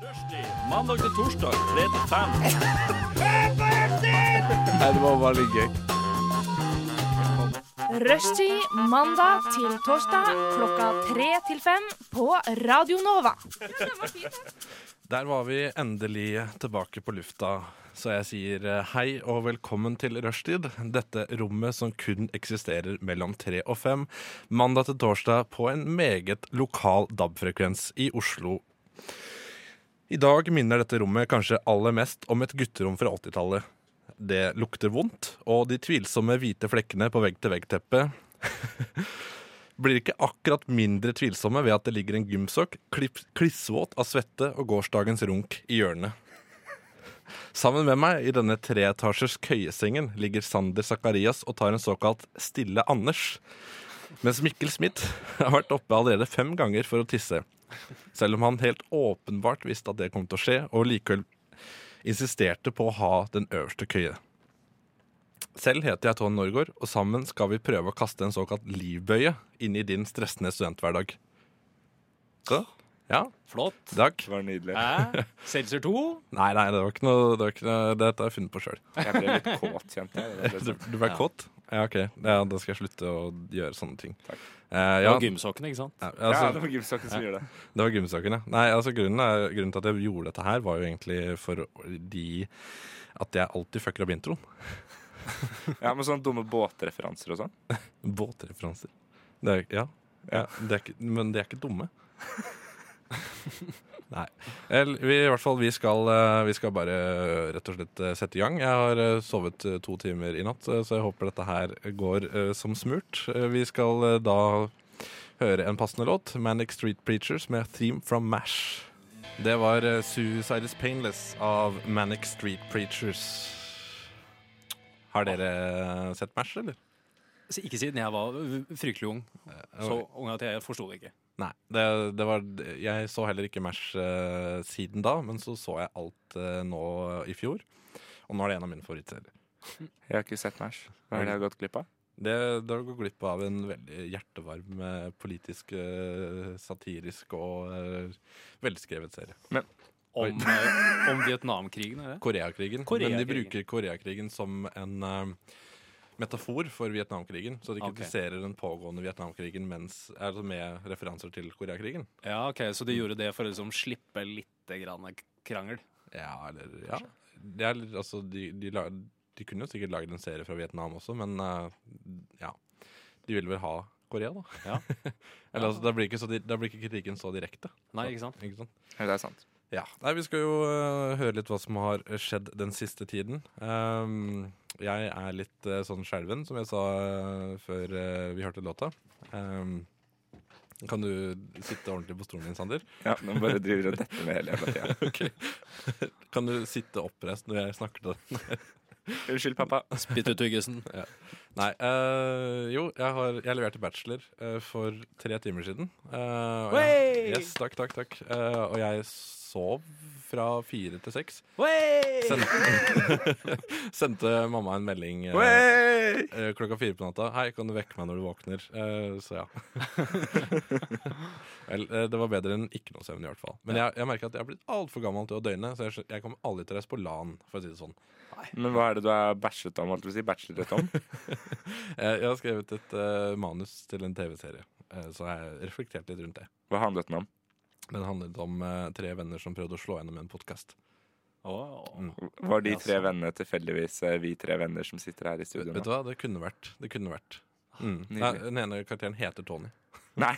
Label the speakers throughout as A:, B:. A: Rushdie. Mandag til torsdag, 3 til 5.
B: Nei, det var veldig gøy.
C: Rushtid mandag til torsdag klokka tre til fem på Radio Nova.
D: Der var vi endelig tilbake på lufta, så jeg sier eh, hei og velkommen til Rushtid. Dette rommet som kun eksisterer mellom tre og fem, mandag til torsdag på en meget lokal DAB-frekvens i Oslo. I dag minner dette rommet kanskje aller mest om et gutterom fra 80-tallet. Det lukter vondt, og de tvilsomme hvite flekkene på vegg-til-vegg-teppet blir ikke akkurat mindre tvilsomme ved at det ligger en gymsokk klipp- klissvåt av svette og gårsdagens runk i hjørnet. Sammen med meg i denne treetasjers køyesengen ligger Sander Sakarias og tar en såkalt Stille Anders, mens Mikkel Smith har vært oppe allerede fem ganger for å tisse. Selv om han helt åpenbart visste at det kom til å skje, og likevel insisterte på å ha den øverste køye. Selv heter jeg Tone Norgård, og sammen skal vi prøve å kaste en såkalt livbøye inn i din stressende studenthverdag. Så, ja,
A: Flott.
D: takk.
B: Det var nydelig.
A: Hæ? Seltzer 2?
D: Nei, nei, det var ikke noe, det var ikke noe Dette har jeg funnet på sjøl.
B: Jeg ble litt kåt, kjente jeg. Det ble
D: Du,
B: sånn.
D: du ble
A: Ja.
D: kåt? Ja, OK. Ja, da skal jeg slutte å gjøre sånne ting.
B: Takk.
D: Eh,
A: Ja.
D: ja,
A: Og gymsokkene, ikke sant?
D: ja,
B: Ja,
D: altså,
B: det var gymsaken som gjorde det.
D: det var gymsaken, ja. Nei, altså, grunnen, er, grunnen til at jeg gjorde dette her, var jo egentlig fordi at jeg alltid fucker opp introen.
B: Ja, Med sånne dumme båtreferanser og sånn.
D: Båtreferanser. Det er, ja. ja det er ikke, men de er ikke dumme. Nei. El, vi, I hvert fall, vi skal, eh, vi skal bare eh, rett og slett eh, sette i gang. Jeg har eh, sovet eh, to timer i natt, eh, så jeg håper dette her går eh, som smurt. Eh, Vi skal eh, da høre en passende låt, 'Manic Street Preachers' med 'Theme from Mash'. Det var eh, 'Suicide is Painless' av Manic Street Preachers. Har dere eh, sett Mash, eller?
A: Så Ikke siden jeg var uh, fryktelig ung. Så ung at jeg forsto det ikke.
D: Nei, det, det var, jeg så heller ikke Mash eh, siden da, men så så jeg alt eh, nå i fjor. Og nå er det en av mine favorittserier.
B: Jeg har ikke sett Mash. Hva er det jeg har gått glipp av?
D: Det, da går du glipp av en veldig hjertevarm, eh, politisk, eh, satirisk og eh, velskrevet serie.
A: Om, eh, om Vietnamkrigen, er det?
D: Koreakrigen. Men de
A: Koreakrigen.
D: bruker Koreakrigen som en eh, metafor for Vietnamkrigen. Så de
A: Ok.
D: kritiserer den pågående Vietnamkrigen mens, altså med referanser til Koreakrigen.
A: Ja, ok, Så de gjorde det for å liksom slippe litt grann krangel?
D: Ja, eller ja. Det er, litt- altså, de, de, la, de kunne jo sikkert laget en serie fra Vietnam også, men eh, ja. De ville vel ha Korea, da.
A: Ja.
D: eller, altså, da, blir ikke så, di- da blir ikke kritikken så direkte.
A: Nei, ikke sant?
D: Ikke sant?
B: Ja, det er sant.
D: Ja. Nei, vi skal jo eh, høre litt hva som har skjedd den siste tiden. Ehm, jeg er litt eh, sånn skjelven, som jeg sa eh, før eh, vi hørte låta. Ehm, kan du sitte ordentlig på stolen din, Sander?
B: Ja, Nå bare driver og detter med hele jævla tida.
D: Ok. kan du sitte oppreist når jeg snakker til deg?
B: Unnskyld, pappa.
A: Spytt ut tyggisen.
D: Nei. øh, jo, jeg, har, jeg leverte bachelor øh, for tre timer siden. Eh, og jeg,
A: Wey!
D: yes, takk, takk, takk. Eh, og jeg sov fra fire til seks. Sendte, sendte mamma en melding eh,
B: Wey!
D: eh, klokka fire på natta. 'Hei, kan du vekke meg når du våkner?' Eh, så ja. Vel, eh, det var bedre enn ikke noe søvn, i hvert fall. Men jeg, jeg merker at jeg har blitt altfor gammel til å døgne, så jeg, skjø- jeg kommer aldri til å reise på LAN, for å si det sånn.
B: Men hva er det du er bæsjet om? holdt jeg på å si? Bachelorett om?
D: Jeg, jeg har skrevet et eh, manus til en TV-serie, eh, så jeg har reflektert litt rundt det.
B: Hva handlet den om?
D: Den handlet om eh, tre venner som prøvde å slå gjennom en podkast.
A: Åh.
B: Var de
A: Ja,
B: tre
A: sant.
B: vennene tilfeldigvis eh, vi tre venner som sitter her i
D: Vet
B: studio
D: vet du
B: nå?
D: hva, det kunne vært. Det kunne vært. Mm.
B: Nydelig.
D: Nei, den ene karakteren heter Tony.
B: Nei!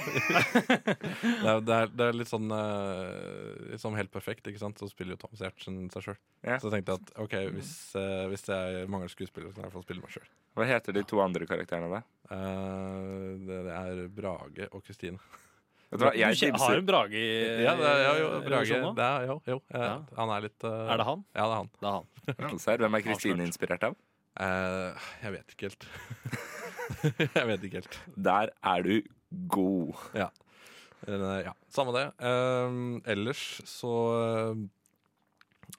D: Det er, det er, det er litt sånn eh, litt sånn helt perfekt, ikke sant? Så spiller jo Thomas Giertsen seg sjøl.
B: Ja.
D: Så jeg tenkte at OK, hvis, eh, hvis jeg mangler skuespiller, så kan jeg i hvert fall spille meg sjøl.
B: Hva heter de to andre karakterene, da?
D: Eh, det, det er Brage og Kristine.
B: Vet du hva? Jeg
A: du kje- har
B: tipser
A: en Brage i
D: Ja, det er, ja, jo, Brage.
A: revisjonen nå?
D: Det er, jo, jo, eh,
A: Ja.
D: Han er litt eh,
A: Er det han?
D: Ja, det er han.
A: Det er han.
B: Rose her. Hvem er Kristine inspirert av?
D: Eh, jeg vet ikke helt. jeg vet ikke helt.
B: Der er du god.
D: Ja. Eh, ja. Samme det. Eh, ellers så eh,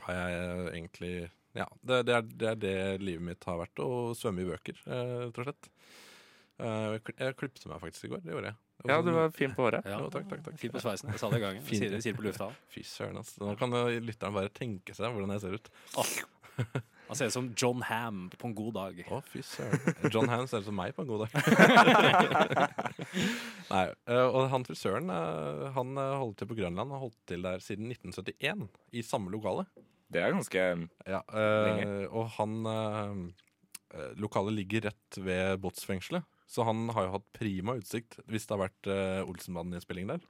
D: har jeg egentlig Ja, det, det, er, det er det livet mitt har vært. Å svømme i bøker, eh, rett og slett. Eh, jeg kl- jeg klipte meg faktisk i går. Det gjorde jeg.
B: Ja, du var fin på håret.
A: Ja,
D: Jo, takk, takk, takk.
A: Fint på sveisen. Jeg sa det i gangen.
D: Fin.
A: Sier det, sier det på lufta.
D: Fy søren, ass. Nå kan eh, lytteren bare tenke seg hvordan jeg ser ut.
A: Han ser ut som John Ham på en god dag.
D: Å, fy søren. John Hands ser ut som meg på en god dag. Nei, eh, og han frisøren eh, han eh, holder til på Grønland og har holdt til der siden 1971, i samme lokale.
B: Det er ganske mm,
D: Ja, eh, og han eh, eh, Lokalet ligger rett ved Båtsfengselet, så han har jo hatt prima utsikt hvis det har vært eh, Olsenbanden-innspilling der.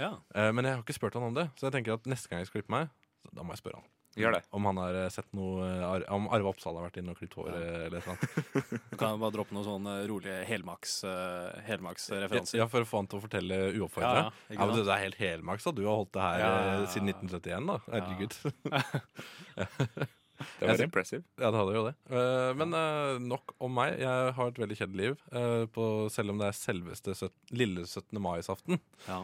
A: Ja.
D: Eh, men jeg har ikke spurt han om det, så jeg tenker at neste gang jeg skal klippe meg, så da må jeg spørre han.
B: Gjør det.
D: Om han har eh, sett noe eh, Ar- Om Arve Oppsal har vært inne og klippet håret eller et eller annet.
A: Du kan bare droppe noen sånne rolige helmaks, eh, helmaksreferanser.
D: Ja, for å få han til å fortelle uoppfordra.
A: Ja,
D: Ja,
A: ja, ikke
D: men
A: sant?
D: det er helt helmaks, da. Du har holdt det her
A: Ja, ja,
D: eh,
A: ja.
D: siden 1971, da. Herregud.
B: Det
D: Jeg
B: var
D: sy-
B: impressive.
D: Ja, det hadde jo det. Eh, men eh, nok om meg. Jeg har et veldig kjedelig liv, eh, på, selv om det er selveste søt, lille 17. mai-aften.
A: Ja.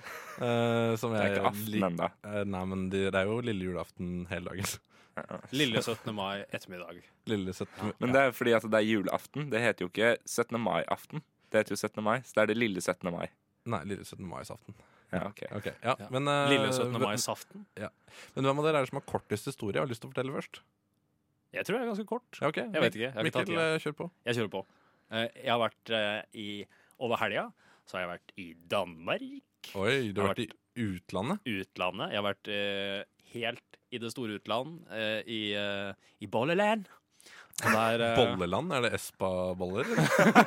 D: som
B: Det er
D: jeg
B: ikke aften
D: lik-
B: ennå.
D: Eh, nei, men det, det er jo lille julaften hele dagen.
A: Lille 17. mai ettermiddag.
D: Lille 17. mai.
B: Men det er fordi at det er julaften. Det heter jo ikke 17. mai-aften. Det heter jo 17. mai, så det er det lille 17. mai.
D: Nei, lille 17. mai-aften.
B: Ja, ok.
D: Ok, ja,
A: Ja.
D: Men, eh,
A: Lille 17.
D: hvem-
A: mai-saften.
D: men hvem av dere er det som har kortest historie? Jeg har lyst til å fortelle først.
A: Jeg tror det er ganske kort.
D: Ja, ok.
A: Jeg vet ikke. Jeg har ikke tatt
D: Mikkel,
A: tida.
D: eh, kjør på.
A: Jeg kjører på. Eh, Jeg har vært eh, i Over helga så har jeg vært i Danmark,
D: Oi, du har
A: har
D: vært i utlandet?
A: utlandet. Jeg har vært eh, helt i det store utland, eh, i, eh, i Bolleland. Og der, eh,
D: Bolleland? Er det Espa-boller? eller?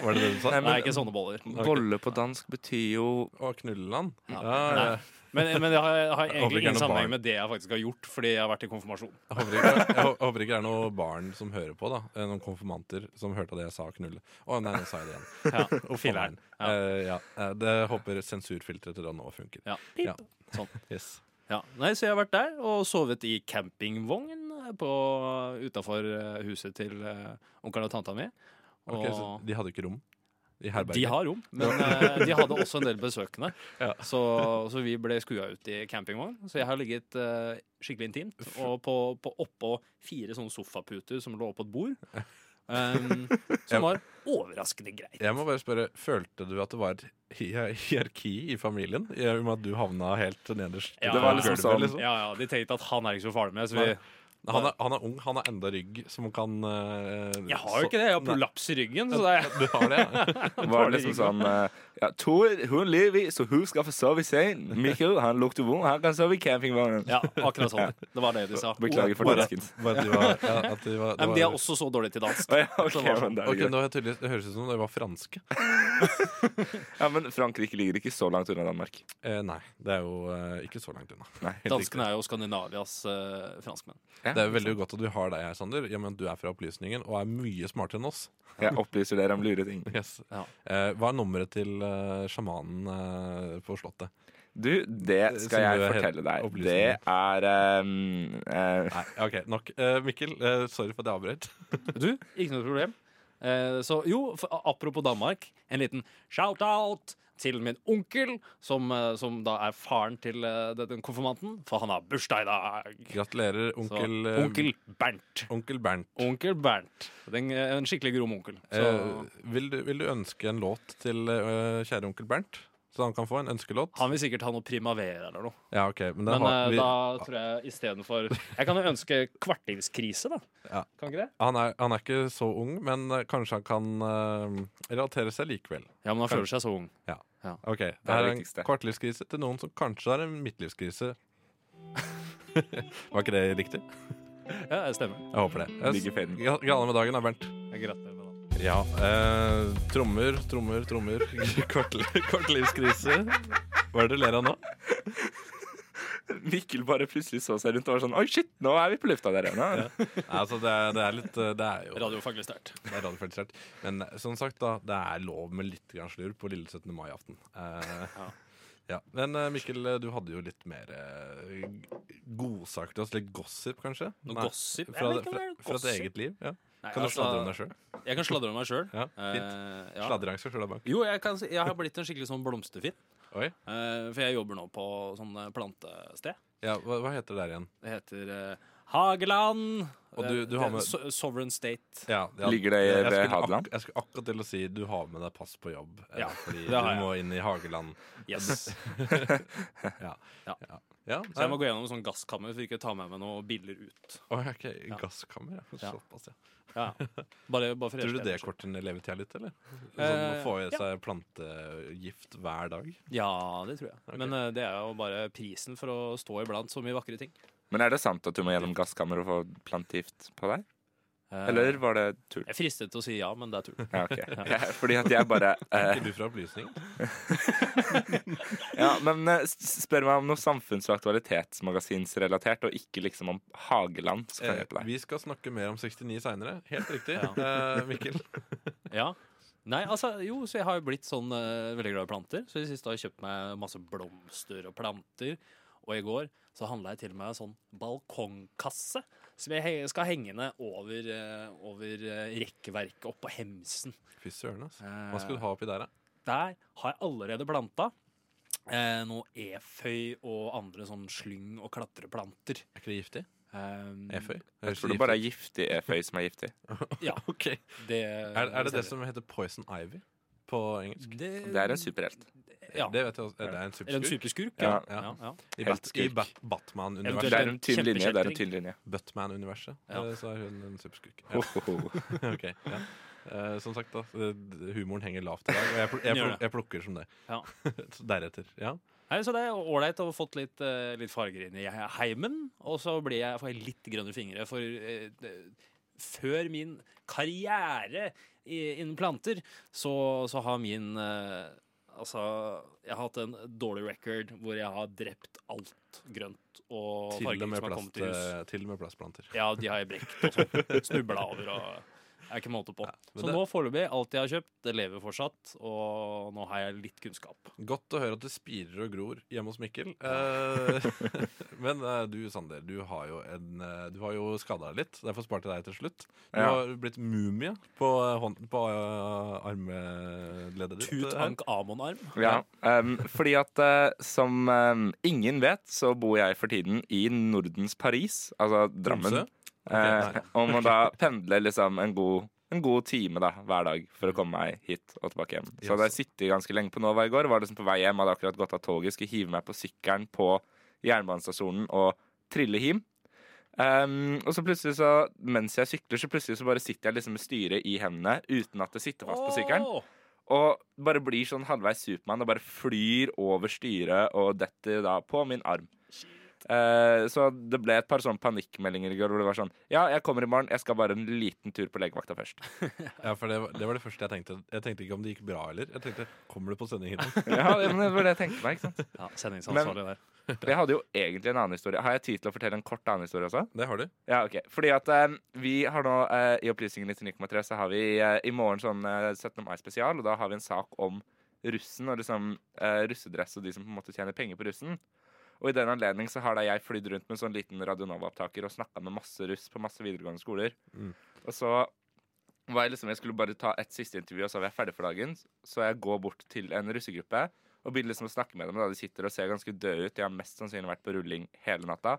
D: Var det det du sa?
B: Nei, men-
A: Nei, ikke sånn. sånne boller.
B: Bolle på dansk betyr jo
D: Å, knulleland? Ja.
A: Ja.
D: ja.
A: Nei. Men, men det har, har
D: Jeg håper
A: egentlig
D: ikke
A: ingen
D: det er noe barn.
A: sammenheng med det jeg faktisk har gjort, fordi jeg har vært i konfirmasjon.
D: Jeg, håper ikke, jeg hå- håper ikke det er noen barn som hører på, da. Eh, Noen konfirmanter som hørte at jeg sa knulle. Å nei, nå sa jeg det igjen.
A: Ja,
D: Å, faen.
A: Filler'n.
D: Eh,
A: Ja.
D: ja. Eh, Det håper sensurfilteret til da nå funker.
A: Ja.
D: Ja.
A: Sånn.
D: Yes.
A: Ja. Nei, så jeg har vært der og sovet i campingvogn utafor huset til eh, onkelen og tanta mi. Og
D: Ok, så de hadde ikke rom i herberget?
A: de har rom, men eh, de hadde også en del besøkende.
D: Ja.
A: Så, så vi ble skua ut i campingvogn. Så jeg har ligget eh, skikkelig intimt og på, på oppå fire sånne sofaputer som lå på et bord. em, som var overraskende greit.
D: Jeg må bare spørre, Følte du at det var et hi- hierarki i familien? I og med at du havna helt nederst?
A: Ja,
D: på
A: det var liksom
D: gulvet,
B: sånn-
A: Ja, ja, De tenkte at han er ikke så farlig med, så vi
D: Nei. Han er, han er ung, han har enda rygg som kan eh,
A: Jeg har jo ikke det. Jeg har prolaps i ryggen. Så det er,
D: Du har det, ja.
B: Var det liksom sånn eh, ja, Tor, hun lever, så hun skal få sove i seng. Mikkel, han lukter vondt, han kan sove i campingvognen.
A: ja, akkurat sånn. Det var det de sa.
B: Beklager for
D: Bare at-
B: dansken.
D: bare at de var- ja, at de var- det
A: Nei, men de
D: var-
A: er også så dårlige til dansk.
B: Å ja, ok,
A: Så det var sånn.
B: men det er
D: Ok,
B: greit.
D: nå er det tydelig- Det høres ut som de var franske.
B: ja, men Frankrike ligger ikke så langt unna Danmark.
D: Eh, nei, det er jo eh, ikke så langt unna.
B: Nei, helt riktig.
A: Danskene er jo Skandinavias eh, franskmenn.
B: Ja,
D: Det er jo veldig godt at vi har deg her, Sander. Ja, men du er fra Opplysningen og er mye smartere enn oss.
B: Jeg opplyser dere om lure ting.
D: Yes.
A: Ja.
D: Eh, hva er nummeret til eh, sjamanen eh, på Slottet?
B: Du, det
D: Som
B: skal jeg
D: du er helt
B: fortelle deg.
D: opplysende.
B: Det er ehm, eh,
D: Nei, ok, nok. Eh, Mikkel, eh, sorry for at jeg avbrøt.
A: Du, ikke noe problem. Eh, så jo, for, a- apropos Danmark, en liten shout-out til min onkel, som, eh, som da er faren til eh, den konfirmanten, for han har bursdag i dag.
D: Gratulerer,
A: Så,
D: onkel, eh,
A: onkel Bernt.
D: onkel Bernt.
A: Onkel Bernt. Den, eh, en skikkelig grom onkel. Så,
D: Eh, vil, du, vil du ønske en låt til eh, kjære onkel Bernt? Så han kan få en ønskelåt?
A: han vil sikkert ha noe primavera eller noe.
D: Ja, ok, men, det
A: Men
D: har,
A: eh,
D: vi,
A: da tror jeg istedenfor Jeg kan jo ønske kvartingskrise, da.
D: Ja.
A: Kan ikke det?
D: han, er, han er ikke så ung, men eh, kanskje han kan eh, relatere seg likevel.
A: Ja, men han føler seg så ung.
D: Ok, Det,
B: det
D: er en
B: viktigste.
D: kvartlivskrise til noen som kanskje har en midtlivskrise. Var ikke det riktig?
A: Ja, det stemmer.
D: Jeg håper det.
B: Digger faden.
D: Gra- Gratulerer med dagen, da, Bernt.
A: Jeg gratulerer med det.
D: Ja, eh, trommer, trommer, trommer. Kvartl kvartlivskrise. Hva er det du ler av nå?
B: Mikkel bare plutselig så seg rundt og var sånn Oi, shit, nå er vi på lufta der igjen. ja."
D: Nei, Altså, det, er, det er litt eh, Det er jo
A: Radiofaglig sterkt.
D: Det er radiofaglig sterkt. Men eh, som sagt, da, det er lov med litt grann slurv på lille 17. mai-aften. Eh, ja.
A: Ja.
D: Men eh, Mikkel, eh, du hadde jo litt mer eh, g- godsak til oss. Litt gossip, kanskje?
A: Noe
D: Nei,
A: gossip?
D: Fra,
A: Jeg vet ikke om
D: fra,
A: det er
D: fra ditt
A: gossip.
D: eget liv? Ja.
A: Nei,
D: Kan du
A: altså,
D: sladre om deg sjøl?
A: Jeg kan sladre om meg sjøl.
D: Ja, fint. Sladreang skal slå deg bak.
A: Jo, jeg, kan, si- jeg har blitt en skikkelig sånn blomsterfinn.
D: Oi.
A: eh, for jeg jobber nå på sånn eh, plantested.
D: Ja, hva, hva heter det der igjen?
A: Det heter eh, Hageland.
D: Og du- du
A: eh,
D: har med-
A: so Sovereign State.
D: Ja, ja.
B: Ligger det
D: Jeg
B: ved
D: skulle ak-
B: Hadeland?
D: Jeg skulle akkurat til å si du har med deg pass på jobb, eh,
A: Ja,
D: fordi
A: det
D: du
A: har jeg.
D: må inn i Hageland.
A: Yes.
D: Ja.
A: Ja.
D: Ja,
A: Så jeg må
D: nei.
A: gå gjennom en sånn gasskammer for ikke å ta med meg noen biler ut.
D: Å, ok, Gasskammer, ja.
A: Ja.
D: Såpass, ja.
A: Ja. Bare, bare for
D: Tror du
A: egen
D: det
A: del.
D: korter ned levetida litt, eller? Sånn
A: Eh,
D: å få i
A: ja.
D: seg plantegift hver dag?
A: Ja, det tror jeg.
D: Ok.
A: Men eh, det er jo bare prisen for å stå iblant så mye vakre ting.
B: Men er det sant at du må gjennom gasskammeret og få plantegift på deg?
A: Eh,
B: Eller var det tull?
A: Jeg er fristet til å si ja, men det er tull.
B: Ja, ok. Ja, fordi at jeg bare eh,
D: Er du fra opplysning?
B: Ja, men eh, s- spør meg om noe samfunns- og aktualitetsmagasinsrelatert, og ikke liksom om Hageland, så kan jeg hjelpe deg.
D: Eh, vi skal snakke mer om 69 seinere. Helt riktig,
A: Ja.
D: eh, Mikkel.
A: Ja. Nei, altså, jo, så jeg har jo blitt sånn eh, veldig glad i planter. Så i det siste har jeg kjøpt meg masse blomster og planter. Og i går så handla jeg til meg en sånn balkongkasse som jeg he skal henge ned over, eh, over eh, rekkverket oppå hemsen.
D: Fy søren, ass. Hva skal du ha oppi der, da?
A: Der har jeg allerede planta eh, noe eføy og andre sånn slyng- og klatreplanter.
D: Er ikke det giftig?
A: Um,
D: Eføy? Eh,
B: Jeg tror det bare er giftig eføy som er giftig.
A: Ja,
D: Ok.
A: det
D: Er, er det det som heter poison ivy på engelsk?
A: det,
B: Det er en superhelt.
A: Ja.
D: Det vet jeg også. Er det en
A: Eller en superskurk.
D: superskurk?
B: Ja.
A: ja. ja, ja.
D: I,
B: Helt
D: Bat i
B: skurk.
D: Bat Batman-universet.
B: Det er en tynn linje. Det er
A: Kjempekjeltring.
B: en tynn linje.
D: Batman-universet.
A: Ja.
D: eh, Så er hun en superskurk. Ja.
B: Ho, ho, ho.
D: ok, ja. Eh, som sagt, da. eh, d- Humoren henger lavt i dag, og jeg, pl jeg,
A: Den gjør
D: pl
A: det.
D: jeg plukker som det.
A: Ja.
D: Så Deretter. Ja.
A: Nei, så det er ålreit å ha fått litt, eh, litt farger inn i heimen. Og så blir jeg, får jeg litt grønne fingre, for eh, det- før min karriere i- innen planter, så, så har min eh, Altså, jeg har hatt en dårlig record hvor jeg har drept alt grønt og
D: Til og,
A: farger
D: med
A: som har kommet
D: plast,
A: til hus.
D: eh, til og med plastplanter.
A: Ja, de har jeg brekt og sånn. Snubla over og er ikke måte på.
D: men
A: så
D: det-
A: nå foreløpig, alt jeg har kjøpt, det lever fortsatt. Og nå har jeg litt kunnskap.
D: Godt å høre at det spirer og gror hjemme hos Mikkel. Eh, men eh, du, Sander, du har jo, en, eh, du har jo skada deg litt. Derfor sparte jeg deg til slutt. Du
B: Ja.
D: har blitt mumie på, eh, hånd- på eh, armleddet ditt.
A: Tut
D: eh,
A: Ank Amon-arm.
B: Ja, ehm, fordi at eh, som ehm, ingen vet, så bor jeg for tiden i Nordens Paris, altså Drammen.
D: Tromsø? Ok,
B: Eh,
D: nei.
B: og må da pendle liksom en god, en god time da, hver dag for å komme meg hit og tilbake hjem. Så
D: Yes.
B: hadde jeg sittet ganske lenge på Nova i går, var liksom på vei hjem, hadde akkurat gått av toget, skulle hive meg på sykkelen på jernbanestasjonen og trille hjem. Ehm, og så plutselig så, mens jeg sykler, så plutselig så bare sitter jeg liksom med styret i hendene uten at det sitter fast på sykkelen.
A: Åh!
B: Og bare blir sånn halvveis Supermann og bare flyr over styret og detter da på min arm. Eh, så det ble et par sånne panikkmeldinger i går hvor det var sånn Ja, jeg kommer i morgen. Jeg skal bare en liten tur på legevakta først.
D: Ja, for det var, det var det første jeg tenkte. Jeg tenkte ikke om det gikk bra eller Jeg tenkte, kommer du på sending i dag?
B: Ja, men det var det jeg tenkte meg. ikke sant?
A: Ja, Sendingsansvarlig der.
B: Jeg hadde jo egentlig en annen historie. Har jeg tid til å fortelle en kort annen historie også?
D: Det har du.
B: Ja, ok. Fordi at eh, vi har nå eh, i Opplysningen 99,3 så har vi eh, i morgen sånn eh, 17. mai-spesial, og da har vi en sak om russen og liksom eh, russedress og de som på en måte tjener penger på russen. Og i den anledning så har da jeg flydd rundt med en sånn liten Radionova-opptaker og snakka med masse russ på masse videregående skoler.
D: Mm.
B: Og så var jeg liksom Jeg skulle bare ta et siste intervju, og så var jeg ferdig for dagen. Så jeg går bort til en russegruppe og begynner liksom å snakke med dem. Da. De sitter og ser ganske døde ut. De har mest sannsynlig vært på rulling hele natta.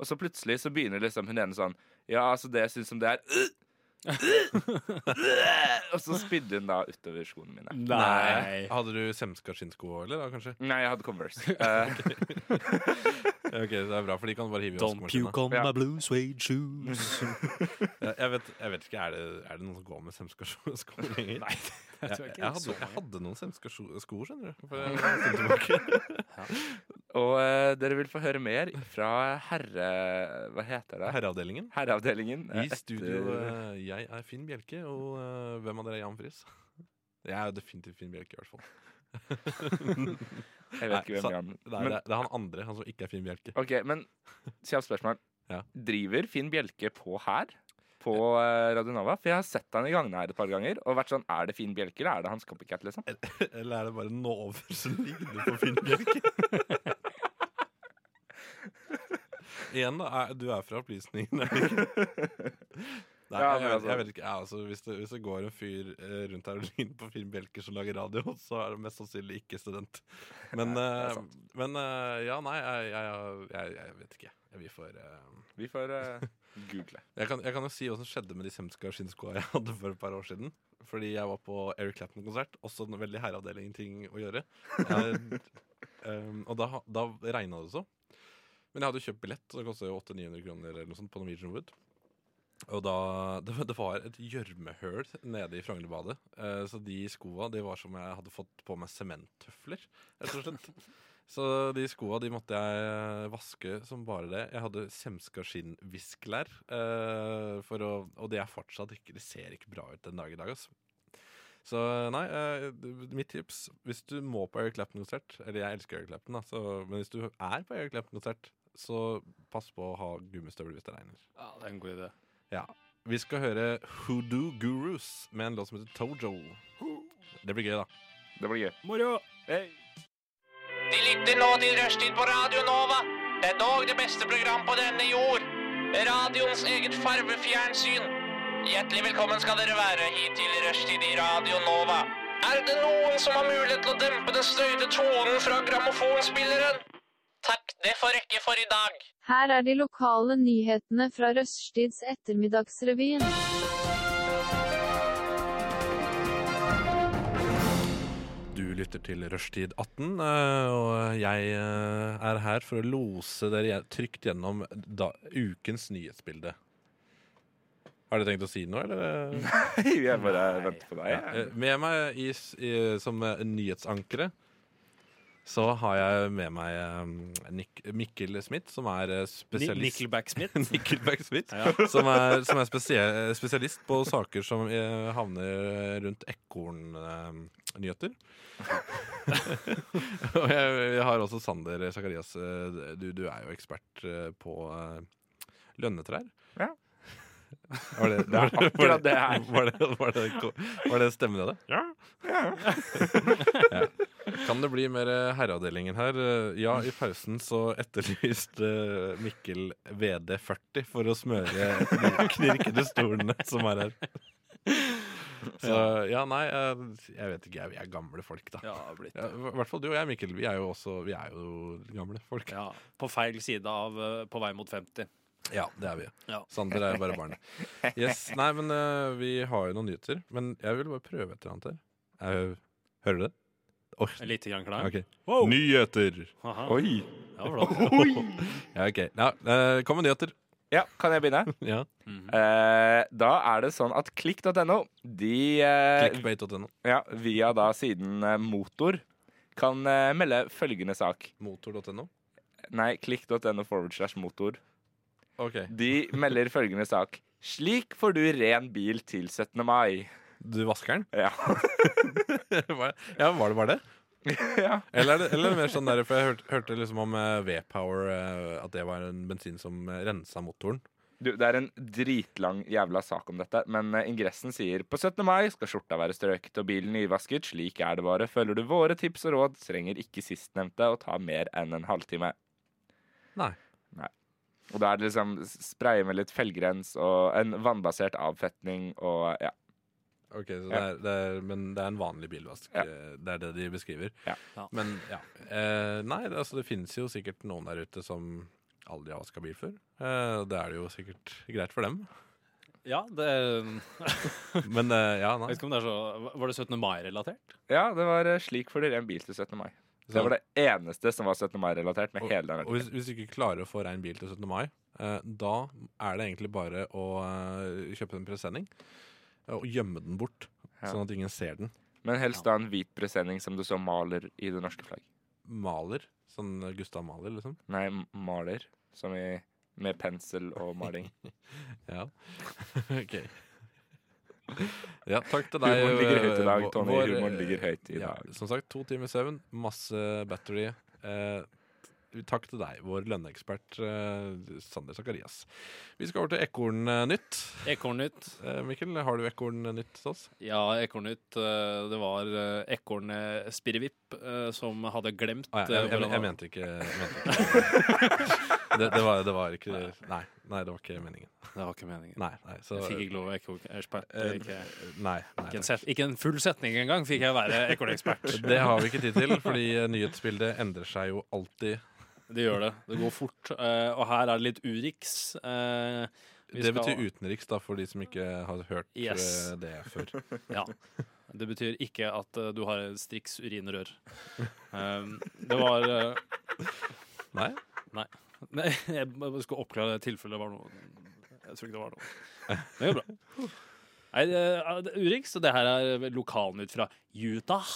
B: Og så plutselig så begynner liksom hun ene sånn Ja, altså det jeg syns om det er øh, Og så spydde hun da utover skoene mine.
A: Nei.
D: Hadde du semskaskinnsko òg, eller? da, kanskje?
B: Nei, jeg hadde Converse. Eh,
D: Ok, Det er bra, for de kan bare hive i
A: Don't puke
D: vaskemaskina.
A: on
B: Ja.
A: my blue suede shoes.
D: Ja, Jeg, vet- jeg vet ikke, er det, er det noen som går med semskasko lenger? Nei,
A: Jeg
D: jeg,
A: tror
D: jeg,
A: ikke
D: hadde,
A: så
D: jeg
A: mange.
D: hadde noen semskasko, sko, skjønner du. For jeg, kom tilbake.
B: og eh, dere vil få høre mer fra herre... Hva heter det?
D: Herreavdelingen.
B: Herreavdelingen. eh,
D: I studio,
B: etter-
D: eh, jeg er Finn Bjelke, og eh, hvem av dere er Jan Friis? Jeg er jo definitivt Finn Bjelke, i hvert fall.
B: Jeg vet ikke
D: Nei,
B: hvem Jan
D: Nei,
B: men,
D: det, er, det er han andre, han som ikke er Finn Bjelke.
B: Ok, men kjapt spørsmål.
D: Ja.
B: Driver Finn Bjelke på her? På eh, Radionova? For jeg har sett han i gangene her et par ganger og vært sånn Er det Finn Bjelke, eller er det hans copycat, liksom?
D: Eh. Eller er det bare Nover som ligner på Finn Bjelke? Igjen, da. Er, du er fra opplysningen. er du ikke? Nei,
B: Ja,
D: jeg,
B: men
D: vet- jeg
B: altså-
D: vet ikke, ja, altså, hvis, det, hvis det går en fyr eh, rundt her og ligner på fire bjelker som lager radio, så er det mest sannsynlig ikke student. Men,
B: Nei, det er
D: eh, men eh, ja, nei, jeg, jeg, jeg, jeg vet ikke. Vi får eh,
B: Vi får eh, google.
D: jeg kan, jeg kan jo si hva som skjedde med de semska skinnskoa jeg hadde for et par år siden. Fordi jeg var på Eric Clapton-konsert. Også en veldig herreavdeling-ting å gjøre. Eh, um, og da, ha- da regna det så. Men jeg hadde jo kjøpt billett, så det kosta jo 800-900 kroner eller noe sånt på Norwegian Wood. Og da, det, var- det var et gjørmehull nede i Frognerbadet. Eh, så de skoa de var som jeg hadde fått på meg sementtøfler, rett og slett. Så de skoa de måtte jeg eh, vaske som bare det. Jeg hadde semska skinnvisklær. eh, for å, og det er fortsatt ikke Det ser ikke bra ut den dag i dag, altså. Så nei, eh, mitt tips Hvis du må på Eric Clapton-konsert Eller jeg elsker Eric Clapton, da, så, men hvis du er på Eric Clapton-konsert, så pass på å ha gummistøvler hvis det regner.
A: Ja, det er en god idé.
D: Ja. Vi skal høre Hoodoo Gurus med en låt som heter Tojo. Det blir gøy, da.
B: Det blir gøy.
A: Moro!
B: Hey.
E: De lytter nå til Rushtid på Radio Nova. Det er dog det beste program på denne jord. Radioens eget farvefjernsyn. Hjertelig velkommen skal dere være hit til Rushtid i Radio Nova. Er det noen som har mulighet til å dempe den støyte tonen fra grammofonspilleren? Takk, det får rekke for i dag.
F: Her er de lokale nyhetene fra Røststids ettermiddagsrevyen.
D: Du lytter til Rushtid 18, eh, og jeg eh, er her for å lose dere gje- trygt gjennom da, ukens nyhetsbilde. Har dere tenkt å si noe, eller?
B: Jeg bare venter på deg.
D: Eh, Med meg i, s- i, som eh, nyhetsankere så har jeg med meg eh, Nik Mikkel Smith, som er eh, spesialist
A: Nickelback-Smith.
D: Nickelback Smith, som er, som er spesie- spesialist på saker som eh, havner rundt ekornnyheter. og jeg, jeg har også Sander Sakarias. eh, Du, du er jo ekspert eh, på eh, lønnetrær.
B: Ja.
D: Var det,
B: Det er
D: var, det-
B: akkurat det her.
D: Var det, var det, var det stemmen i det? Ja. Kan det bli mer eh, herreavdelingen her? Eh, Ja, i pausen så etterlyste eh, Mikkel VD40 for å smøre de knirkede stolene som er her. Så ja, nei, eh, jeg vet ikke. Jeg- Vi er gamle folk, da.
A: Ja, det har blitt.
D: Ja, I hvert fall du og jeg, Mikkel. Vi er jo også vi er jo gamle folk.
A: Ja, på feil side av eh, På vei mot 50.
D: Ja, det er vi.
A: Ja.
D: Sander er jo bare barn. Yes, Nei, men eh, vi har jo noen nyheter. Men jeg vil bare prøve et eller annet her. Jeg, hører du det? Åh,
A: Litt grann klar.
D: ok.
A: Wow.
D: Nyheter!
A: Aha.
B: Oi.
A: Ja, flott.
D: Ja, ok. Ja, eh, kom med nyheter.
B: Ja, kan jeg begynne?
D: Ja.
A: Mhm.
B: Eh, da er det sånn at klikk.no, de eh,
D: Clickbait.no.
B: ja, via da siden eh, motor, kan eh, melde følgende sak.
D: Motor.no.
B: Nei, klikk.no forward slash motor.
D: Ok.
B: De melder følgende sak. Slik får du ren bil til 17. mai.
D: Du vasker den?
B: Ja.
D: Var- ja, var det bare det?
B: Ja.
D: Eller er det, eller er det mer sånn der, for jeg hørte, hørte liksom om eh, V-Power, eh, at det var en bensin som eh, rensa motoren.
B: Du, det er en dritlang jævla sak om dette, men eh, ingressen sier på 17. mai skal skjorta være strøket og bilen nyvasket. Slik er det bare. Følger du våre tips og råd, trenger ikke sistnevnte å ta mer enn en halvtime.
D: Nei.
B: Og da er det liksom s- spraye med litt fellgrens og en vannbasert avfetning og ja.
D: Ok, så det
B: Ja.
D: er, det er, Men det er en vanlig bilvask.
B: Ja.
D: eh, Det er det de beskriver.
B: Ja.
A: Ja.
D: Men ja. Eh, nei, det, altså, det finnes jo sikkert noen der ute som aldri har vaska bil før. Eh, og det er det jo sikkert greit for dem.
A: Ja, det
D: Men eh, ja,
A: jeg
D: nei.
A: vet ikke om det er så Var det 17. mai-relatert?
B: Ja, det var eh, slik får du ren bil til 17. mai. Det var det eneste som var 17. mai-relatert med
D: Og,
B: hele den
D: og hvis, hvis du ikke klarer å få rein bil til 17. mai, eh, da er det egentlig bare å eh, kjøpe en presenning eh, og gjemme den bort,
B: Ja.
D: sånn at ingen ser den.
B: Men helst da en hvit presenning som du så maler i det norske flagg.
D: Maler. Sånn Gustav Maler, liksom.
B: Nei, m- maler. Som i med pensel og maling.
D: Ja. ok. Ja, takk til deg. eh,
B: Humoren ligger høyt i dag,
D: vår-
B: Tony.
D: vår,
B: Humoren
D: eh,
B: ligger høyt i
D: ja,
B: dag.
D: Som sagt, to timer søvn, masse battery. Eh, takk til deg, vår lønneekspert eh, Sander Sakarias. Vi skal over til Ekornnytt.
A: Ekornnytt.
D: Eh, Mikkel, har du Ekornnytt til oss?
A: Ja, Ekornnytt. eh, Det var eh, ekornet Spirrevipp eh, som hadde glemt eh,
D: Ah, ja, jeg, jeg, jeg,
A: hvordan-
D: mente ikke, jeg mente ikke. det, det, var, det var ikke Nei, nei, det var ikke meningen.
A: Det var ikke meningen.
D: Nei, nei, så,
A: Jeg fikk ikke lov å ekkoekspert.
D: Eh,
A: Ikke,
D: nei,
A: ikke,
D: nei.
A: en set- ikke en full setning engang fikk jeg være ekornekspert.
D: Det har vi ikke tid til, fordi eh, nyhetsbildet endrer seg jo alltid.
A: Det gjør det. Det går fort. eh, og her er det litt Urix. eh, vi
D: Det
A: skal-
D: betyr utenriks, da, for de som ikke har hørt
A: Yes.
D: eh, det før.
A: Ja. Det betyr ikke at eh, du har striks urinrør. Um, det var eh,
D: Nei?
A: Nei, jeg bare skulle oppklare det tilfellet det var noe Jeg tror ikke det var noe. Men det går bra. Nei, det er- det er Urix, og det her er vel lokalen ut fra Utah.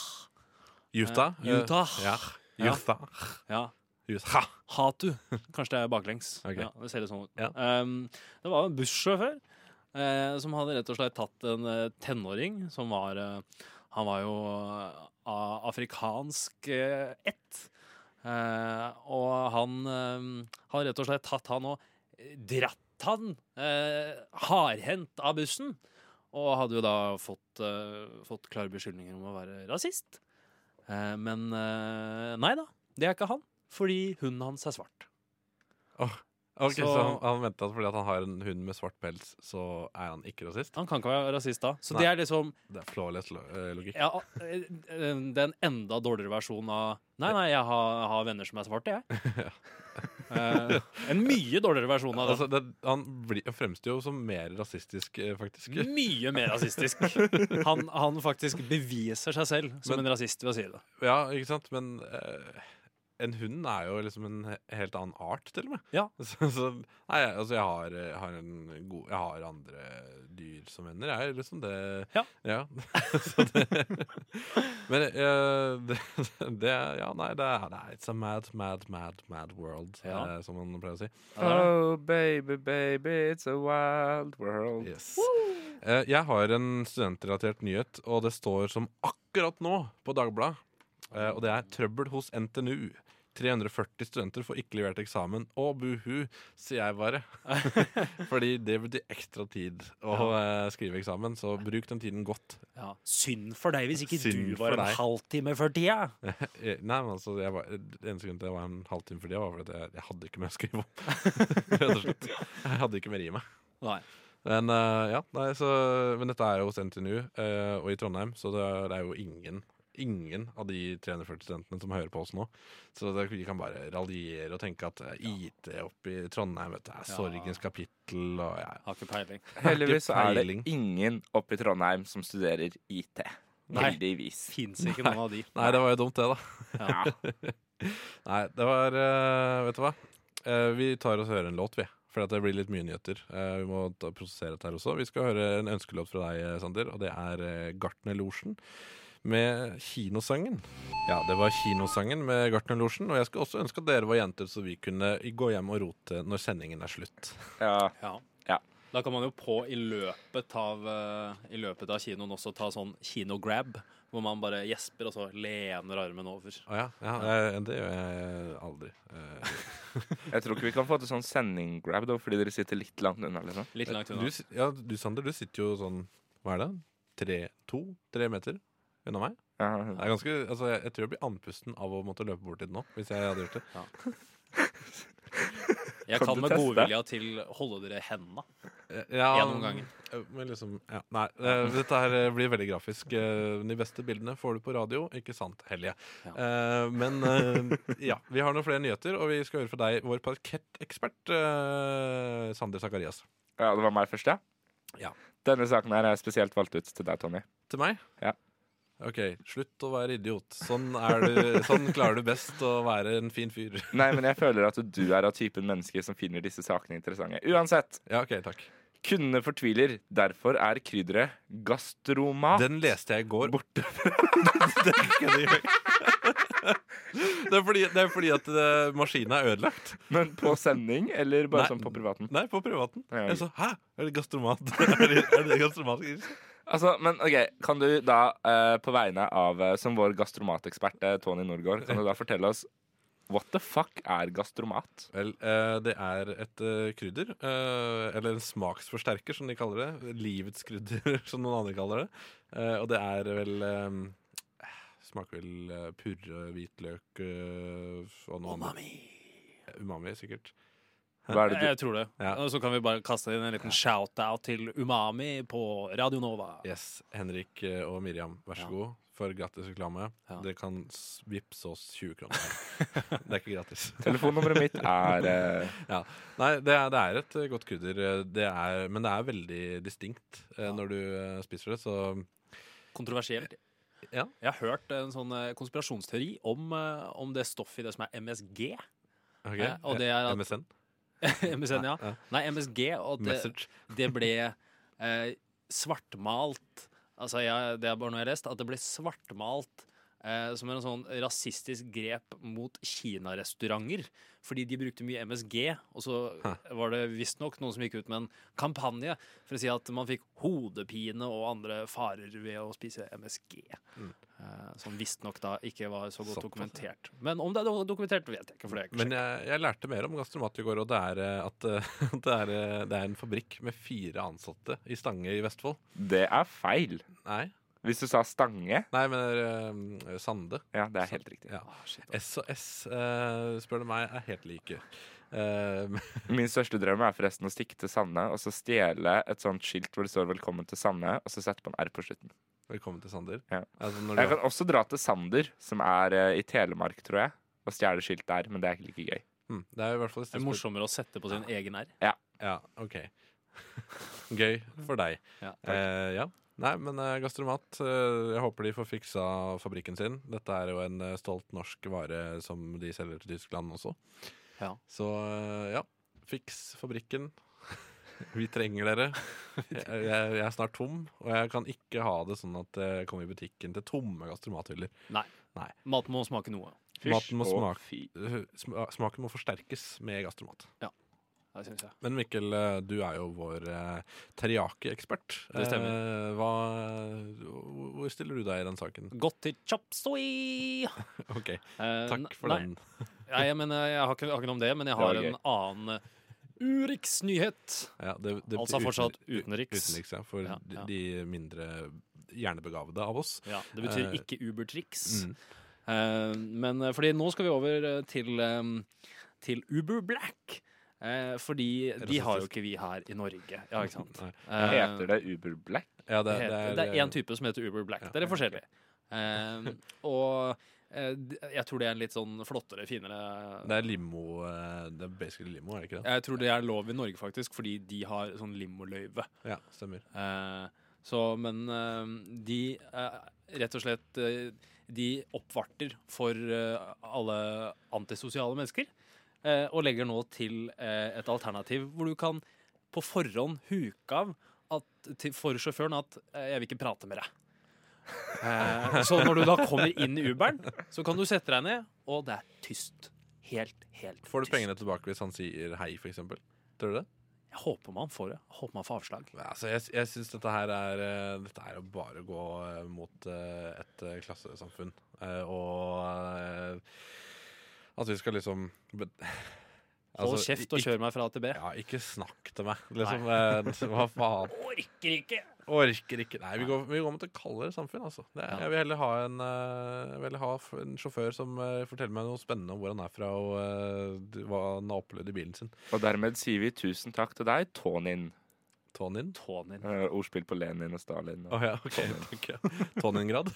D: Utah?
A: Eh, Utah.
D: Ja.
A: Ja.
D: Utah.
A: Ja.
D: Utah.
A: Hatu. Kanskje det er baklengs.
D: Ok.
A: Ja, det ser litt sånn ut.
D: Ja.
A: Um, det var en bussjåfør eh, som hadde rett og slett tatt en eh, tenåring som var eh, Han var jo eh, av afrikansk eh, ett. Eh, og han eh, har rett og slett tatt han og eh, dratt han eh, hardhendt av bussen. Og hadde jo da fått, eh, fått klare beskyldninger om å være rasist. Eh, men eh, nei da, det er ikke han. Fordi hunden hans er svart.
D: Ok, så,
A: Så-
D: han, han mente at fordi at han har en hund med svart pels, så er han ikke rasist?
A: Han kan ikke være rasist da. Så
D: Nei.
A: det er liksom
D: Det er flawless lo- eh, logikk.
A: ja, eh, eh, Det er en enda dårligere versjon av Nei, nei, jeg har, jeg har venner som er svarte, jeg. Eh, en mye dårligere versjon av det.
D: Altså, det, han blir, fremstår jo som mer rasistisk, eh, faktisk.
A: Mye mer rasistisk. Han, han faktisk beviser seg selv som
D: Men-
A: en rasist ved å si det.
D: Ja, ikke sant? Men eh, en hund er jo liksom en he- helt annen art, til og med.
A: Ja.
D: Så, så, nei, jeg- altså, jeg har, eh, har en god Jeg har andre dyr som venner, jeg. Liksom det
A: Ja.
D: så det Men eh, det, det Ja, nei, det er det er- It's a mad, mad, mad, mad world,
A: Ja.
D: eh, som man pleier å si.
B: Oh, baby, baby, it's a wild world.
D: Yes. Eh, jeg har en studentrelatert nyhet, og det står som akkurat nå på Dagbladet. Eh, og det er trøbbel hos NTNU. 340 studenter får ikke levert eksamen. Å, buhu, sier jeg bare. Fordi det betyr ekstra tid å eh, skrive eksamen, så bruk den tiden godt.
A: Ja. Synd for deg hvis ikke
D: Synd
A: du var
D: for
A: en
D: deg.
A: halvtime før tida.
D: Eh, Nei, men altså, jeg var, det eneste grunnen til at jeg var en halvtime for det, var fordi at jeg, jeg hadde ikke mer å skrive om. Rett og slett. Jeg hadde ikke mer i meg.
A: Nei.
D: Men, eh, ja, nei, så, men dette er jo hos NTNU eh, og i Trondheim, så det er, det er jo ingen Ingen av de 340 studentene som hører på oss nå. Så det, vi kan bare raljere og tenke at eh, IT oppe i Trondheim vet du,
A: Ja.
D: er sorgens kapittel. Og, ja.
A: Har ikke peiling.
B: Heldigvis så er det
D: peiling.
B: ingen oppe i Trondheim som studerer IT.
A: Nei.
B: Heldigvis.
A: Fins ikke noen av de.
D: Nei, det var jo dumt, det, da.
B: Ja.
D: Nei, det var eh, Vet du hva? Eh, vi tar oss og hører en låt, vi. For det blir litt mye nyheter. Eh, vi må ta, prosessere dette her også. Vi skal høre en ønskelåt fra deg, eh, Sander, og det er eh, Gartnerlosjen med Kinosangen. Ja, det var Kinosangen med Gartnerlosjen, og jeg skulle også ønske at dere var jenter, så vi kunne gå hjem og rote når sendingen er slutt.
B: ja.
A: Ja.
B: Ja.
A: Da kan man jo på i løpet av, eh, i løpet av kinoen også ta sånn kinograb, hvor man bare gjesper og så lener armen over.
D: Å ja, ja, eh, det gjør jeg aldri. Eh,
B: Jeg tror ikke vi kan få til sånn sending-grab, da, fordi dere sitter litt langt unna. liksom.
A: Litt langt
D: Du,
A: unna.
D: sit- ja, du, Sander, du sitter jo sånn Hva er det? Tre, to, tre meter unna meg?
B: Ja.
D: Det er ganske, altså, jeg, jeg tror jeg blir andpusten av å måtte løpe bort dit nå. Hvis jeg hadde gjort det
A: Jeg
B: kan
A: kan
B: du
A: med
B: teste?
A: godvilja til holde dere henda.
D: Eh, ja,
A: noen ganger.
D: Men liksom, ja, nei, eh, dette her eh, blir veldig grafisk. Eh, De beste bildene får du på radio, ikke sant, Helje? Eh, Men eh, ja, vi har noen flere nyheter, og vi skal høre fra deg, vår parkettekspert eh, Sander Sakarias.
B: ja, det var meg først, ja?
D: Ja.
B: Denne saken her er spesielt valgt ut til deg, Tommy.
D: Til meg?
B: Ja.
D: OK, slutt å være idiot. Sånn, er du, sånn klarer du best å være en fin fyr.
B: Nei, men jeg føler at du er av typen mennesker som finner disse sakene interessante. Uansett,
D: Ja, OK, takk.
B: kundene fortviler. Derfor er krydderet gastromat
D: Den leste jeg i går.
B: Ah. borte.
D: Det er fordi, det er fordi at eh, maskinen er ødelagt.
B: Men på sending, eller bare
D: Nei.
B: sånn på privaten?
D: Nei, på privaten.
B: Ja,
D: Jeg sa, Hæ? Er det gastromat? er det, er det gastromat?
B: Altså, men ok, Kan du da, eh, på vegne av eh, som vår gastromatekspert eh, Tony Norgård, kan du da fortelle oss What the fuck er gastromat?
D: Vel, eh, det er et eh, krydder, eh, eller en smaksforsterker, som de kaller det. Livets krydder, som noen andre kaller det. Eh, og det er vel eh, Smaker vel eh, purre, hvitløk eh, og noe annet. Umami, sikkert.
B: Hva er det du
A: Jeg tror det.
D: Ja.
A: Og så kan vi bare kaste inn en liten shout-out til Umami på Radio Nova.
D: Yes, Henrik eh, og Miriam, vær så
A: Ja.
D: god for gratis reklame.
A: Ja.
D: Dere kan s- vippse oss 20 kroner. det er ikke gratis.
B: Telefonnummeret mitt er eh,
D: Nei, det er, det er et eh, godt krydder, eh, det er, men det er veldig distinkt eh, når du eh, spiser det. Så
A: Kontroversielt.
D: Ja.
A: Jeg har hørt en sånn eh, konspirasjonsteori om, eh, om det stoffet i det som er MSG.
D: ok,
A: Ja, Eh, og det er at-
D: MSN.
A: MSN, ja.
D: Ja.
A: Nei, MSG. Og at det,
D: Message.
A: det ble eh, svartmalt Altså, jeg, det er bare noe jeg har lest. At det ble svartmalt eh, som en sånn rasistisk grep mot kinarestauranter. Fordi de brukte mye MSG, og så var det visstnok noen som gikk ut med en kampanje for å si at man fikk hodepine og andre farer ved å spise MSG. Eh, som visstnok da ikke var så godt
D: Mm. Såpass, ja.
A: dokumentert. Men om det er do- dokumentert, vet jeg ikke. for det er ikke
D: Men jeg, jeg lærte mer om gastromat i går, og det er eh, at eh, det er, eh, det er en fabrikk med fire ansatte i Stange i Vestfold.
B: Det er feil.
D: Nei,
B: Hvis du sa Stange
D: Nei men det er, eh, Sande.
B: Ja, det er helt riktig.
D: Ja.
A: Ah, shit, ass.
D: S og S, eh, spør du meg, er helt like. Eh,
B: Min største drøm er forresten å stikke til Sande og så stjele et sånt skilt hvor det står 'Velkommen til Sande', og så sette på en R på slutten.
D: velkommen til Sander.
B: Ja.
D: Altså, når
B: Jeg
D: du,
B: kan også dra til Sander, som er eh, i Telemark, tror jeg, og stjele skilt der, men det er ikke like gøy.
D: mm, det er jo i hvert fall et
A: Det er
D: sted-
A: morsommere å sette på sin egen R.
D: Ja, ok. Gøy for deg.
A: Ja.
D: eh, ja. Nei, men eh, Gastromat, eh, jeg håper de får fiksa fabrikken sin. Dette er jo en eh, stolt norsk vare som de selger til Tyskland også.
A: Ja.
D: Så eh, ja, fiks fabrikken. Vi trenger dere. Jeg, jeg, jeg er snart tom, og jeg kan ikke ha det sånn at jeg kommer i butikken til tomme gastromathyller.
A: Maten må smake noe.
D: Maten må
B: Fysj og
D: smake.
B: fy.
D: Eh, sma- Smaken må forsterkes med gastromat.
A: Det synes jeg.
D: Men Mikkel, eh, du er jo vår eh, teriyaki-ekspert.
A: Det stemmer.
D: Eh, Hva, hvor- hvor stiller du deg i den saken?
A: Gått til chop soy!
D: Ok,
A: Eh,
D: Takk for
A: nei,
D: den.
A: Nei, jeg, mener, eh, jeg har ikke, har ikke noe om det, men jeg
B: Det var
A: har en
B: gøy.
A: annen eh, Urix-nyhet.
D: Ja, det, det,
A: Altså
D: uten-
A: fortsatt utenriks.
D: utenriks ja, for
A: Ja,
D: de-
A: ja.
D: de mindre hjernebegavede av oss.
A: Ja, det betyr
D: Eh,
A: ikke Uber-triks.
D: Mm.
A: Eh, men eh, fordi nå skal vi over eh, til, eh, til Uber Black. Eh, fordi de har jo
D: Rasistisk.
A: ikke vi her i Norge. Ja, ikke sant?
D: Nei.
A: Eh,
B: Heter det Uber Black?
D: Ja,
A: det,
D: det, det
A: heter,
D: er, eh,
A: det er én type som heter Uber Black.
D: Ja.
A: Dere er forskjellige. Eh, og eh, d- jeg tror det er en litt sånn flottere, finere
D: det er limo eh, Det er basically limo, er det ikke det?
A: Jeg tror det er lov i Norge, faktisk, fordi de har sånn limoløyve.
D: Ja, stemmer.
A: Eh, så, men eh, de eh, rett og slett eh, De oppvarter for eh, alle antisosiale mennesker. eh, og legger nå til eh, et alternativ hvor du kan på forhånd huke av at, til, for sjåføren at eh, 'jeg vil ikke prate med deg'. Eh, så når du da kommer inn i Uberen, så kan du sette deg ned, og det er tyst. Helt, helt
D: Får du
A: tyst.
D: pengene tilbake hvis han sier hei, for eksempel? Tror du det?
A: Jeg håper man får det. Jeg håper man får avslag.
D: Nei, Altså, jeg jeg syns dette her er eh, Dette er jo bare å gå eh, mot eh, et eh, klassesamfunn. Eh, Og eh, at vi skal liksom Hold
A: Hold kjeft og kjør meg fra A til B.
D: Altså, Ja, ikke snakk til meg. Liksom, eh, hva faen?
A: Orker ikke!
D: Orker ikke. Nei, vi går, vi går mot et kaldere samfunn, altså. Det, er-
A: Ja.
D: jeg vil heller ha en, eh, jeg vil heller ha f- en sjåfør som eh, forteller meg noe spennende om hvor han er fra, og eh, hva han har opplevd i bilen sin.
B: Og dermed sier vi tusen takk til deg, Tonin.
D: Tonin?
A: Tånen din.
B: Eh, ordspill på Lenin og Stalin. Og.
D: Å ja, OK. takk, ja. Toningrad?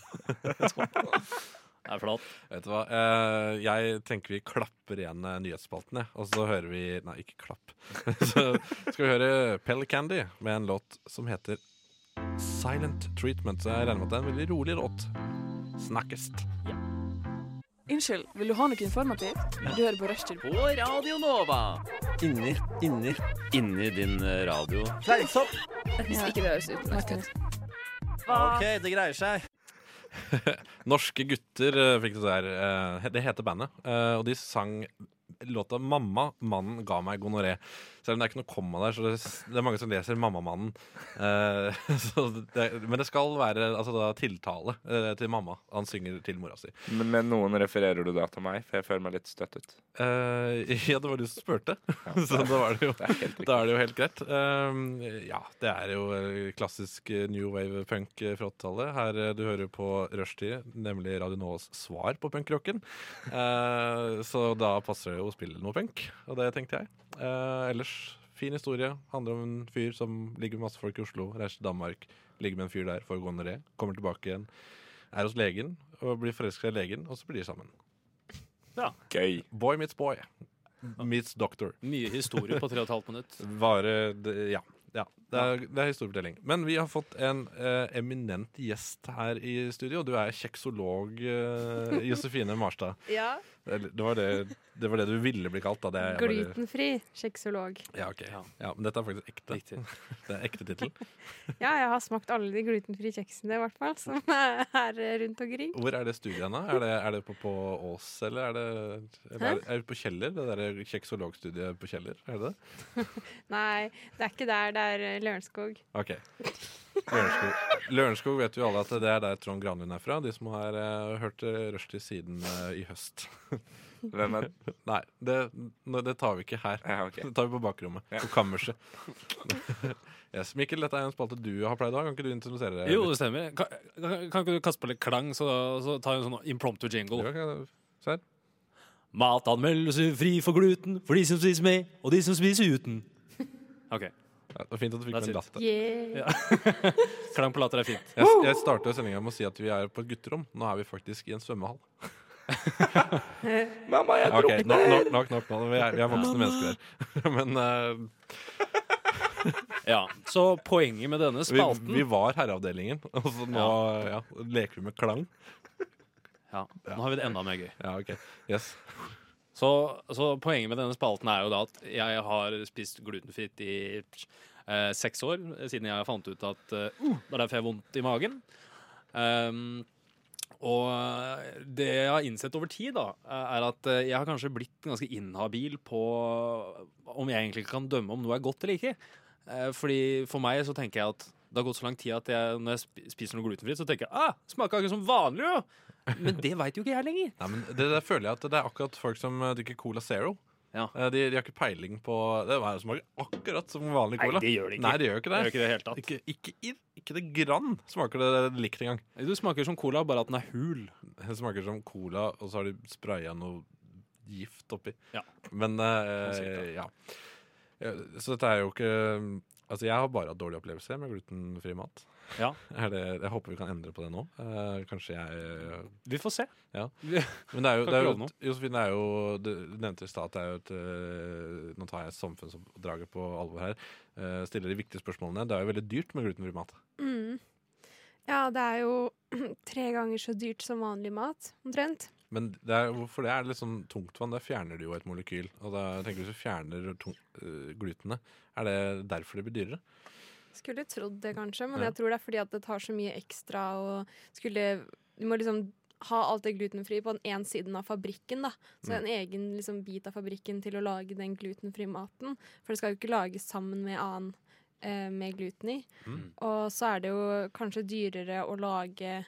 A: Det er flott.
D: Vet du hva? Eh, jeg tenker vi klapper igjen eh, nyhetsspalten, jeg. Og så hører vi Nei, ikke klapp. så skal vi høre Pell Candy med en låt som heter Silent Treatment. Så jeg regner med at det er en veldig rolig låt. Snakkes.
G: Unnskyld, vil du ha noe informativt? Du hører på Rushtid.
E: På Radio Nova.
H: Inni, inni
E: Inni din radio.
H: Fleinsopp!
G: Ikke det høres utenlandsk ut.
H: Ok, det greier seg.
D: Norske gutter eh, fikk det der. eh, det heter bandet. eh, og de sang låta 'Mamma, mannen ga meg gonoré'. Så selv om det er ikke noe komma der, så det, det er mange som leser 'Mammamannen'. Eh, så det, men det skal være altså, da, tiltale eh, til mamma. Han synger til mora si.
B: Men med noen refererer du da til meg, for jeg føler meg litt støttet.
D: Eh, ja, det var du som spurte, så da, var det jo,
B: Det er helt
D: da
B: riktig.
D: er det jo helt greit. Eh, ja, det er jo eh, klassisk eh, new wave punk eh, fra 80-tallet. Her eh, du hører på rushtid, nemlig Radio Nås svar på punkrocken. Eh, så da passer det jo å spille noe punk, og det tenkte jeg. Eh, ellers fin historie. Handler om en fyr som ligger med masse folk i Oslo, reiser til Danmark, ligger med en fyr der, får gå ned det, kommer tilbake igjen, er hos legen og blir forelska i legen, og så blir de sammen.
B: Gøy.
D: Boy meets boy. Meets doctor.
A: Mye historie på tre og et halvt minutt.
D: Vare det- Ja. ja. Det, er, det er historiefortelling. Men vi har fått en eh, eminent gjest her i studio. Du er kjeksolog, eh, Josefine Marstad.
I: Ja.
D: Eller, Det var det, det var det du ville bli kalt, da. Det er jeg bare,
I: Glutenfri kjeksolog.
D: ja, ok. ja, men dette er faktisk ekte.
A: Riktig.
D: Det er ekte tittel.
I: Ja, jeg har smakt alle de glutenfrie kjeksene, i hvert fall, som er rundt omkring.
D: Hvor er det studiet henne? Er det, er det på, på Ås, eller er det, eller er, er det på Kjeller? Det der kjeksologstudiet på Kjeller? Er det det?
I: Nei, det er ikke der. Det er eh, Lørenskog.
D: Ok. Lørenskog. Lørenskog vet jo alle at det er der Trond Granlund er fra. De som har eh, hørt eh, Rushdie siden eh, i høst.
B: Hvem er
D: Nei, det, nå- det tar vi ikke her.
B: ja, ok.
D: Det tar vi på bakrommet.
B: Ja.
D: På kammerset. yes, Mikkel, dette er en spalte du har pleid å ha. Kan ikke du introdusere deg?
A: Jo,
D: litt?
A: det stemmer. Kan, kan, kan ikke du kaste på litt klang, så, så tar vi en sånn impromptu
D: Jo,
A: jingle?
D: kan jeg- Se her.
A: Matanmeldelse fri for gluten for de som spiser med, og de som spiser uten. OK.
D: Ja, det var fint at du fikk
A: That's
D: med en
A: it.
D: latter.
I: Yeah.
A: Klang på latter er fint.
D: Jeg, jeg startet sendinga med å si at vi er på et gutterom. Nå er vi faktisk i en svømmehall.
B: Mamma, jeg
D: Ok, nok, nok, nok, nok nå. Vi er, vi er voksne mennesker her. Men eh,
A: Ja, Så poenget med denne
D: vi,
A: spalten
D: vi var herreavdelingen, og så nå ja, leker vi med klang.
A: Ja, Nå har vi det enda mer gøy.
D: Ja, ok. Yes.
A: Så, så poenget med denne spalten er jo da at jeg har spist glutenfritt i eh, seks år, siden jeg fant ut at eh, uh, det er derfor jeg har vondt i magen. Ehm, og det jeg har innsett over tid, da, er at eh, jeg har kanskje blitt ganske inhabil på om jeg egentlig kan dømme om noe er godt eller ikke. Eh, Fordi for meg så tenker jeg at det har gått så lang tid at jeg, når jeg sp- spiser noe glutenfritt, så tenker jeg ah, smaker ikke som vanlig, jo! Men det veit jo ikke jeg lenger.
D: Nei, men det, det føler jeg at det er akkurat folk som eh, drikker Cola Zero.
A: Ja.
D: Eh, De, de har ikke peiling på Det er- smaker akkurat som vanlig
A: Nei,
D: cola.
A: det gjør det ikke.
D: Nei, det gjør ikke det.
A: Det gjør ikke det i det hele tatt.
D: Ikke, ikke, i- ikke det grann smaker det likt engang.
A: Du smaker som cola, bare at den er hul.
D: Det smaker som cola, og så har de spraya noe gift oppi.
A: Ja.
D: Men eh, ja. Ja, Så dette er jo ikke Altså, jeg har bare hatt dårlige opplevelser med glutenfri mat.
A: Ja.
D: Er det, jeg håper vi kan endre på det nå. Eh, kanskje jeg
A: Vi får se.
D: Ja.
A: Vi-
D: Men det er jo,
A: Kan
D: det
A: ikke
D: er jo,
A: love noe.
D: et- Josefine, det er jo Du du nevnte i stad at det er jo et øh, Nå tar jeg samfunnsoppdraget på alvor her. øh, stiller de viktige spørsmålene. Det er jo veldig dyrt med glutenfri mat.
I: Mm. Ja, det er jo tre ganger så dyrt som vanlig mat, omtrent.
D: Men det er, hvorfor det er litt sånn tungtvann? Der fjerner du jo et molekyl. Og da tenker du så fjerner tung, øh, glutenet. Er det derfor det blir dyrere?
I: Skulle trodd det, kanskje, men
D: Ja.
I: jeg tror det er fordi at det tar så mye ekstra og skulle Du må liksom ha alt det glutenfrie på den ene siden av fabrikken, da. Så en egen liksom, bit av fabrikken til å lage den glutenfrie maten. For det skal jo ikke lages sammen med annen eh, med gluten i. Og så er det jo kanskje dyrere å lage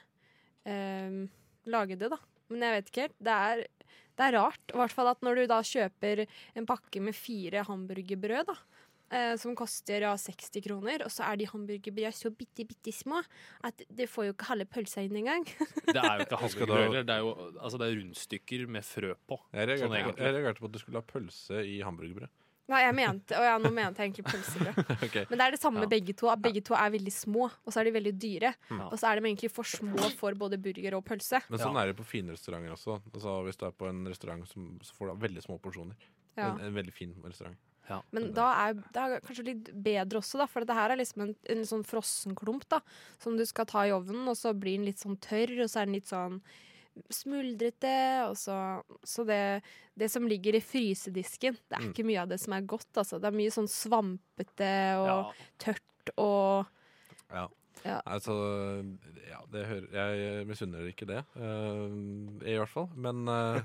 I: eh, lage det, da. Men jeg vet ikke helt. Det er, det er rart. I hvert fall at når du da kjøper en pakke med fire hamburgerbrød, da. Eh, som koster ja, 60 kroner, og så er de hamburgerbrød så bitte, bitte små at det får jo ikke halve pølsa inn engang.
A: Det er jo ikke
D: Husker
A: hamburgerbrød
D: da-
A: heller. Det er jo altså det er rundstykker med frø på.
D: Jeg
A: Sånn
D: reagerte, på-
A: egentlig.
D: jeg reagerte på at du skulle ha pølse i hamburgerbrød.
I: Nei, jeg mente, og ja, nå mente jeg egentlig pølsebrød.
D: Ok.
I: Men det er det samme
A: Ja.
I: med begge to. at Begge to er veldig små, og så er de veldig dyre.
A: Ja.
I: Og så er de egentlig for små for både burger og pølse.
D: Men sånn er det på fine restauranter også. Altså, hvis du er på en restaurant, som, så får du ha veldig små porsjoner.
I: Ja.
D: En, en veldig fin restaurant.
I: Men da er det er kanskje litt bedre også, da, for dette her er liksom en, en sånn frossenklump da, som du skal ta i ovnen, og så blir den litt sånn tørr, og så er den litt sånn smuldrete, og så Så det, det som ligger i frysedisken, det
B: Mm.
I: er ikke mye av det som er godt, altså. Det er mye sånn svampete og
A: Ja.
I: tørt og
D: Ja.
I: Ja.
D: Altså, ja, det hører, jeg misunner ikke det, eh, i hvert fall. Men eh,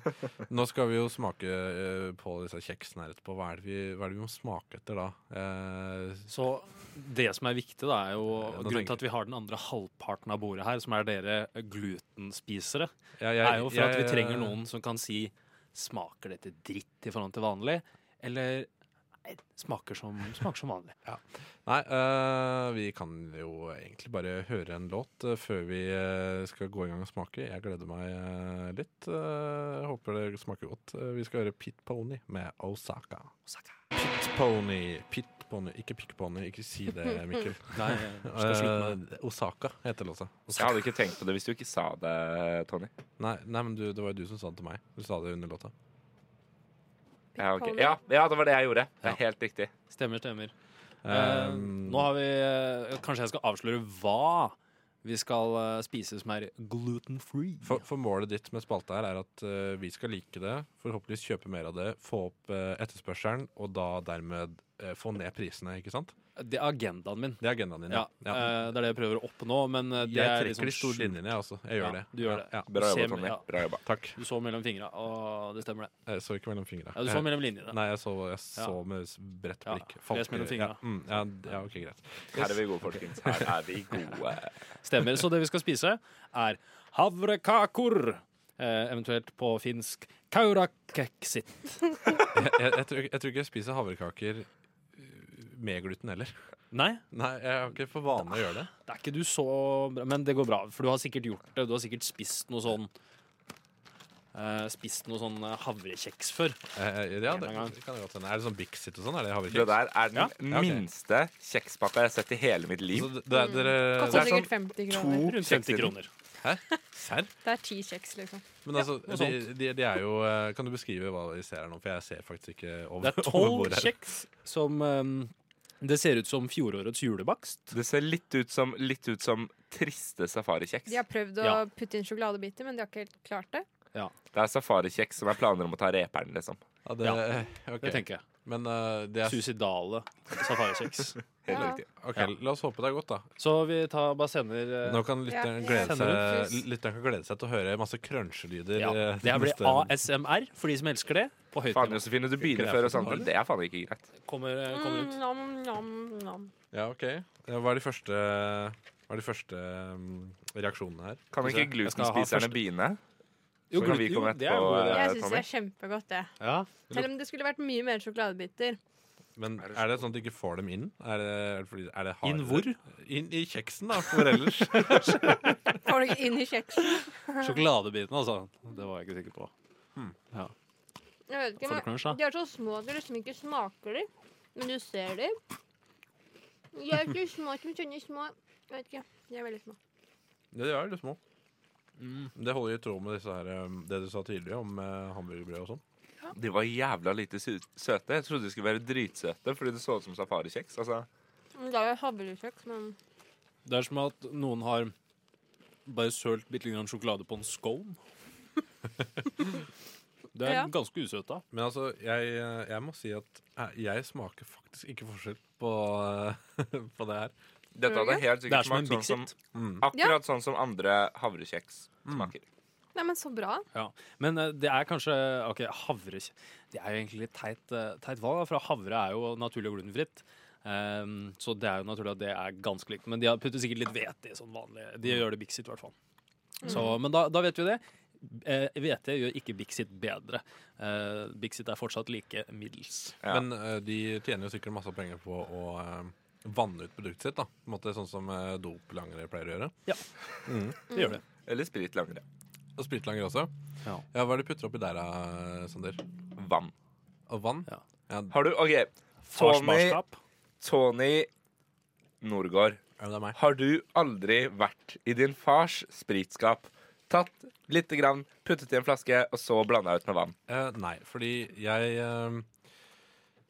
D: nå skal vi jo smake eh, på disse kjeksene her etterpå. Hva er det vi, hva er det vi må smake etter da? Eh,
A: Så det som er viktig, da, er jo
D: Ja, nå
A: grunnen
D: tenker-
A: til at vi har den andre halvparten av bordet her, som er dere glutenspisere,
D: ja, jeg-
A: er jo for at vi
D: jeg-
A: trenger noen som kan si Smaker dette dritt i forhold til vanlig? Eller nei, smaker som, smaker som vanlig.
D: Nei, eh, vi kan jo egentlig bare høre en låt eh, før vi eh, skal gå i gang og smake. Jeg gleder meg eh, litt. Eh, jeg håper det smaker godt. Eh, vi skal høre Pit Pony med Osaka. Pit Pony, Pit Pony, ikke Pick Pony. Ikke si det, Mikkel.
A: Nei, jeg skal slutte med det.
D: Eh, Osaka heter låta.
B: Jeg hadde ikke tenkt på det hvis du ikke sa det, Tony.
D: Nei, nei, men du, det var jo du som sa det til meg. Du sa det under låta.
B: Ja, ok. ja, ja, det var det jeg gjorde. Det er helt riktig.
A: Stemmer, stemmer. Eh,
D: Um,
A: nå har vi eh, Kanskje jeg skal avsløre hva vi skal eh, spise som er gluten free.
D: For, for målet ditt med spalte her er at eh, vi skal like det, forhåpentligvis kjøpe mer av det, få opp eh, etterspørselen, og da dermed eh, få ned prisene, ikke sant?
A: Det er agendaen min.
D: Det er agendaen din.
A: Ja,
D: Ja. Ja.
A: eh, Det er det jeg prøver å oppnå, men eh, det
D: jeg
A: er
D: trekker
A: liksom
D: de store
A: skjult.
D: linjene, jeg også. altså. Jeg gjør
A: Ja,
D: det.
A: du gjør det.
D: Ja, ja.
B: Bra jobba,
A: Ser-
B: Tony.
A: ja.
B: Bra jobba.
D: Takk.
A: Du så mellom fingra, og det stemmer, det.
D: Jeg så ikke mellom fingra.
A: Ja, du så mellom linjene.
D: Eh, Nei, jeg så, jeg så
A: Ja.
D: med s- bredt
A: Ja,
D: blikk.
A: les mellom fingra.
D: Ja, mm, ja, d- ja, ok, greit.
B: Her er vi gode, folkens. Her er vi gode.
A: Stemmer. Så det vi skal spise, er havrekakor. Eh, eventuelt på finsk kaurakeksit.
D: Jeg, jeg, jeg, tror, jeg tror ikke jeg spiser havrekaker uh, med gluten heller.
A: Nei,
D: Nei, jeg har ikke for vane å gjøre det.
A: det er ikke du så bra, men det går bra. For du har sikkert gjort det. Du har sikkert spist noe sånn eh, Spist noe sånn eh, havrekjeks før.
D: Eh, ja, det
A: En gang.
D: kan det godt hende. Er det sånn Bixit og sånn? Er det
B: Det
D: havrekjeks?
B: der er den
A: Ja,
D: ok.
B: minste kjekspakka jeg har sett i hele mitt liv.
D: Altså, det, det,
A: Mm.
D: dere-
B: Det
I: Kosta
B: er sånn
I: sikkert 50 kroner.
A: Rundt 50
B: kjekser.
A: kroner.
D: Serr?
I: Det er ti kjeks, liksom.
D: Men altså,
A: noe
D: de,
A: sånt.
D: de, de er jo eh, Kan du beskrive hva vi ser her nå? For jeg ser faktisk ikke over
A: Det er
D: over
A: tolv
D: bordet her.
A: kjeks som eh, Det ser ut som fjorårets julebakst.
B: Det ser litt ut som, litt ut som triste safarikjeks.
I: De har prøvd å
A: Ja.
I: putte inn sjokoladebiter, men de har ikke helt klart det.
B: Det er safarikjeks som er planer om å ta reperen, liksom.
D: Ja, det, ok.
A: Det tenker jeg.
D: Men eh, det er
A: Suicidale safarikjeks.
B: Helt
I: Ja.
B: riktig.
D: Ok,
A: Ja.
D: La oss håpe det er godt, da.
A: Så vi tar, bare sender eh,
D: Nå kan lytteren
I: Ja.
D: glede
A: Sender
D: seg, lytteren kan glede seg til å høre masse crunchelyder.
A: ja.
D: eh,
A: Det her blir
D: neste-
A: ASMR for de som elsker det. På høyt
B: Faen,
A: nivå.
B: Josefine, du begynner
D: Ikke
B: før
D: det
B: oss
D: for
B: andre.
D: noe,
B: Det er faen ikke greit.
A: Kommer, eh, kommer
I: Mm,
A: ut.
I: nam, nam, nam.
D: Ja, ok Ja, Hva er de første, hva er de første mm, reaksjonene her?
A: Skal
B: Kan
A: vi se.
B: ikke
A: Jeg skal ha
B: glutenspiserne
A: først-
B: begynne?
A: Jo,
B: Så kan vi
A: gluten-
B: komme
A: jo, det er
B: etterpå,
A: en god idé.
B: eh,
I: Jeg syns det
B: Tommy?
I: er kjempegodt, det.
A: Ja.
I: Selv om det skulle vært mye mer sjokoladebiter.
D: Men Er det sånn at du ikke får dem inn? Er det, er det, fordi, er det
A: Inn
D: hardere? Inn i kjeksen, da. Hvor ellers?
I: Får dere inn i kjeksen?
A: Sjokoladebiten, altså. Det var jeg ikke sikker på.
I: Jeg vet ikke,
A: Får du
I: men
A: crunch, da?
I: De er så små at du liksom ikke smaker dem, men du ser dem. De er ikke små som sånne små Jeg vet ikke. De er veldig små.
D: Ja, de er litt små.
A: Mm.
D: Det holder i tråd med disse her, um, det du sa tidligere om eh, hamburgerbrød og sånn.
B: De var jævla lite sø- søte. Jeg trodde de skulle være dritsøte fordi det så ut som safarikjeks. Altså,
I: Men Da er det havrekjeks, men
A: Det er som at noen har bare sølt bitte litt grann sjokolade på en scone. Det er
I: Ja.
A: ganske usøtt, da.
D: Men altså, jeg, eh, jeg må si at eh, jeg smaker faktisk ikke forskjell på, eh, på det her.
B: dette hadde helt
A: Det
B: sikkert
A: er som
B: smakt
A: en Bixit.
B: sånn
A: Mm.
B: som
D: Mm.
B: Akkurat sånn som andre havrekjeks smaker.
I: Nei, men så bra.
A: Ja. Men eh, det er kanskje Ok, havre Det er jo egentlig litt teit, eh, teit valg, da, for havre er jo naturlig og glutenfritt. Ehm, så det er jo naturlig at det er ganske likt. Men de har putter sikkert litt hvete i sånn vanlig De gjør det Bixit, i hvert fall. Så, men da, da vet vi det. Eh, Hvete gjør ikke Bixit bedre. Eh, Bixit er fortsatt like middels.
B: Ja.
D: Men eh, de tjener jo sikkert masse penger på å eh, vanne ut produktet sitt. da På en måte Sånn som eh, doplangere pleier å gjøre.
A: Det gjør det.
B: Eller sprit langere.
D: Og spritlangere også.
A: Ja.
D: Hva er det du putter oppi der, eh, Sander?
B: Vann.
D: Og vann?
A: Ja.
B: Har du OK, Tony,
A: Farsbarskap.
B: Tony Norgård.
D: Ja, det er meg.
B: Har du aldri vært i din fars spritskap? Tatt lite grann, puttet i en flaske, og så blanda ut med vann.
D: Eh, nei, fordi jeg eh,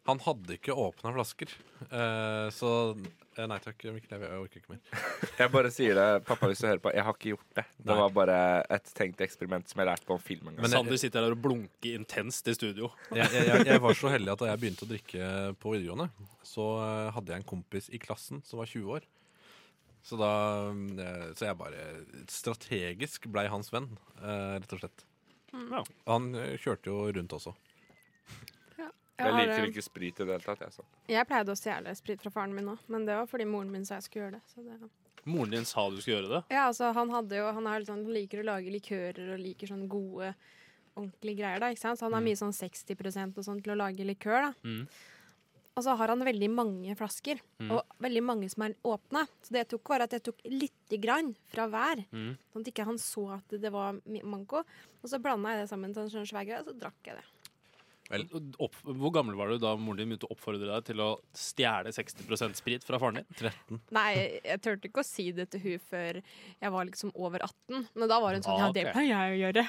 D: Han hadde ikke åpna flasker. Eh, så eh, nei takk, Mikkel. Jeg jeg orker ikke mer.
B: Jeg bare sier det, pappa hvis du hører på. Jeg har ikke gjort det. Det
D: Nei.
B: var bare et tenkt eksperiment som jeg lærte på en film en gang.
D: Men-
I: Sånn.
A: Sander sitter der og blunker intenst i studio.
D: jeg, jeg, jeg- jeg var så heldig at da jeg begynte å drikke på videregående, så eh, hadde jeg en kompis i klassen som var 20 år. Så, da, eh, så jeg bare strategisk blei hans venn, eh, rett og slett.
A: Ja.
D: Han eh, kjørte jo rundt også.
I: Jeg,
B: Jeg
I: har,
B: liker
I: eh,
B: ikke sprit i det hele tatt. Jeg, sånn. så.
I: jeg pleide å stjele sprit fra faren min òg, men det var fordi moren min sa jeg skulle gjøre det. Så det
A: Moren din sa du skulle gjøre det?
I: ja, altså, han, hadde jo, han, er litt sånn, han liker å lage likører og liker sånne gode, ordentlige greier. Da, ikke sant? Så han har mye sånn 60 og sånn til å lage likør. Da.
A: Mm.
I: Og så har han veldig mange flasker, og veldig mange som er åpne. Så det jeg tok, var at jeg tok lite grann fra hver,
A: Mm.
I: sånn at ikke han så at det var mi- manko. Og så blanda jeg det sammen til en sånn svær greie, og så drakk jeg det.
D: Vel.
A: Opp, hvor gammel var du da moren din begynte å oppfordre deg til å stjele 60 sprit fra faren din?
I: Nei, jeg turte ikke å si det til hun før jeg var liksom over 18. Men da var hun sånn
A: Ah,
I: Ja, det
A: ok.
I: pleier jeg å gjøre.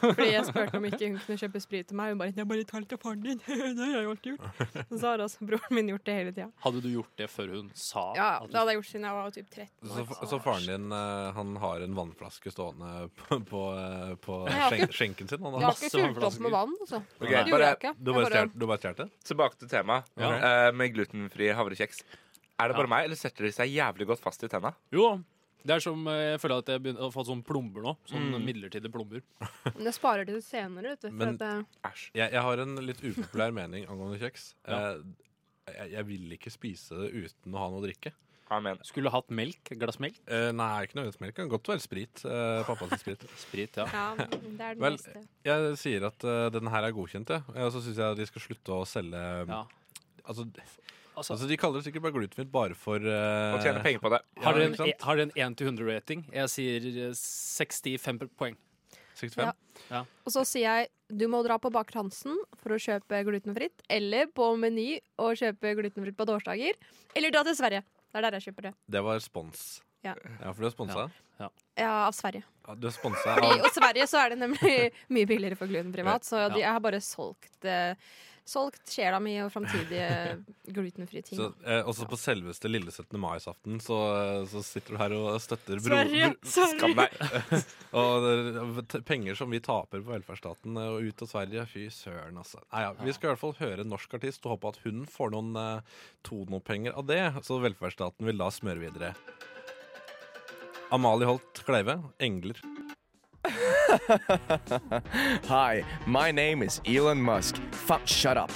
I: Fordi jeg spurte om ikke hun kunne kjøpe sprit til meg. Hun bare Jeg bare tar litt av faren din. det har jeg jo alltid gjort. Og så har også broren min gjort det hele tida.
A: Hadde du gjort det før hun sa
I: Ja,
A: at
I: det hadde jeg gjort siden jeg var typ 13
D: Så,
I: år.
D: fa- så faren din eh, han har en vannflaske stående på, på, eh, på
I: Jeg har
D: skjen-
I: ikke-
D: skjenken sin? Han har
I: Jeg har
D: Ah, masse
I: ikke fylt opp
D: vannflasker.
I: med vann, altså.
B: Ok,
I: Det gjorde jeg
B: bare
I: ikke.
D: Du bare
I: Jeg bare,
D: stjal- du bare stjal det?
B: tilbake til temaet
A: Ja.
B: eh, med glutenfri havresekks. Er det bare meg, eller setter de seg jævlig godt fast i tenna?
A: Jo, det er som eh, jeg føler at jeg begynner, har fått sånne plomber nå. Sånn
D: Mm.
A: midlertidige plomber.
I: men jeg sparer det til senere, vet du. For
D: Men-
I: at eh, jeg,
B: Æsj.
D: Jeg, jeg har en litt upopulær mening angående kjeks.
A: Ja.
D: Eh, Jeg, jeg vil ikke spise det uten å ha noe å drikke.
B: Amen.
A: Skulle hatt melk. Glass melk.
D: Eh, nei, ikke nødvendigvis melk. Det kan godt være sprit. eh, pappas sprit.
A: Sprit, ja.
I: ja, det er det
D: Vel,
I: beste.
D: Jeg sier at eh, denne her er godkjent, jeg. Eh, Og så syns jeg de skal slutte å selge
A: ja.
D: altså,
A: Altså,
D: altså, De kaller det sikkert bare glutenfritt bare for eh,
B: Og tjene penger på det.
A: har dere en, e,
D: ikke sant?
A: har dere en 1 til 100-rating? Jeg sier eh, 65 poeng.
D: 65.
I: Ja. Og så sier jeg du må dra på Baker Hansen for å kjøpe glutenfritt, eller på Meny og kjøpe glutenfritt på torsdager, eller dra til Sverige. Det er der jeg kjøper det.
D: Det var spons.
I: Ja.
D: for du er sponsa?
I: Ja, av Sverige.
D: Ja, Du er sponsa
I: Fordi,
D: av
I: og Sverige så er det nemlig mye billigere for glutenfri mat, så de,
A: Ja.
I: jeg har bare solgt, eh, solgt sjela mi og framtidige glutenfrie ting.
D: så, eh, Også på selveste lille 17. mai-aften så, så sitter du her og støtter bro,
I: Sverige!
B: Skam
I: Sverige!
B: deg.
D: Og det- t- penger som vi taper på velferdsstaten eh, og ut av Sverige, fy søren, altså. Nei, ja, vi skal i hvert fall høre en norsk artist og håpe at hun får noen eh, tonopenger av det, så velferdsstaten vil la smøre videre. Amalie Holt Kleive, 'Engler'.
J: Hi, my name is Elon Musk. Fu- shut up.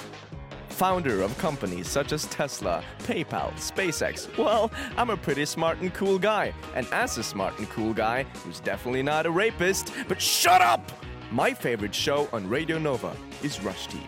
J: Founder of companies such as Tesla, PayPal, SpaceX. Well, I'm a pretty smart and cool guy. And as a smart and cool guy, who's definitely not a rapist, but shut up! My favorite show on Radio Nova is Rushdie.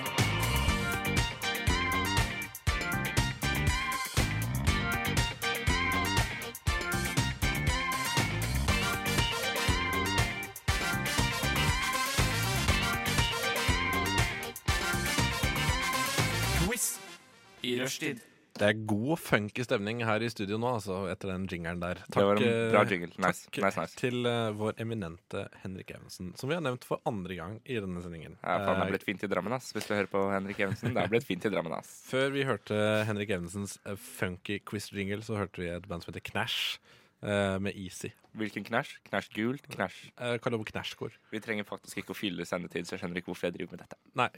H: I rushtid.
D: Det er god, funky stemning her i studio nå, altså, etter den jingeren der.
B: Det var en
D: eh,
B: bra jingle. Nice.
D: takk
B: nice, nice.
D: til eh, vår eminente Henrik Evensen, som vi har nevnt for andre gang i denne sendingen.
B: Ja, faen, det
D: Eh,
B: er blitt fint i Drammen, ass. Hvis du hører på Henrik Evensen. Det er blitt fint i Drammen, ass.
D: Før vi hørte Henrik Evensens eh, funky quiz-jingle, så hørte vi et band som heter Knash, eh, med Easy.
B: Hvilken knæsj? Knæsj gult? Knæsj
D: Uh, Karl Ove Knash-kor.
B: Vi trenger faktisk ikke å fylle sendetid, så jeg skjønner ikke hvorfor jeg driver med dette.
D: Nei.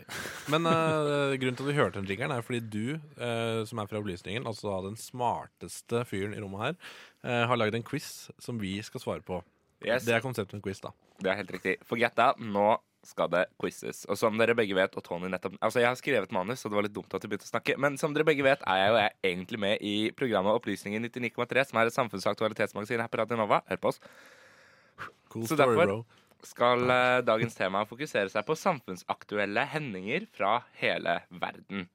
D: Men eh, grunnen til at vi hørte den jingeren, er fordi du, eh, som er fra Opplysningen, altså da den smarteste fyren i rommet her, eh, har lagd en quiz som vi skal svare på.
B: Yes.
D: Det er konseptet med quiz, da.
B: Det er helt riktig. Forget that. Nå skal det quizes. Og som dere begge vet, og Tony nettopp Altså, jeg har skrevet manus, så det var litt dumt at du begynte å snakke. Men som dere begge vet, er jeg og jeg egentlig med i programmet Opplysningen 99,3, som er et samfunnsaktualitetsmagasin her på Radio Nova. Hør på oss.
D: Cool
B: Så
D: story,
B: derfor-
D: bro.
B: Skal eh, dagens tema fokusere seg på samfunnsaktuelle hendinger fra hele verden.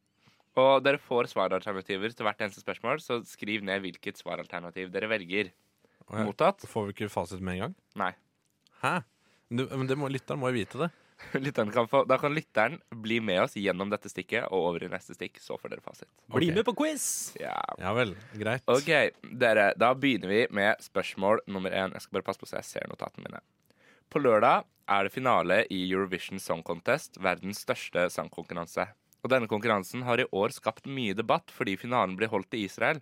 B: Og dere får svaralternativer til hvert eneste spørsmål, så skriv ned hvilket svaralternativ dere velger.
D: Og jeg-
B: Mottatt?
D: Får vi ikke fasit med en gang?
B: Nei.
D: Hæ? Men du- Men det må, lytteren må jo vite det.
B: Lytteren kan få, da kan lytteren bli med oss gjennom dette stikket og over i neste stikk. Så får dere fasit.
A: Bli
D: Ok.
A: med på quiz!
B: Ja.
D: Ja vel. Greit.
B: OK, dere. Da begynner vi med spørsmål nummer én. Jeg skal bare passe på så jeg ser notatene mine. På lørdag er det finale i Eurovision Song Contest, verdens største sangkonkurranse. Og denne konkurransen har i år skapt mye debatt fordi finalen blir holdt i Israel.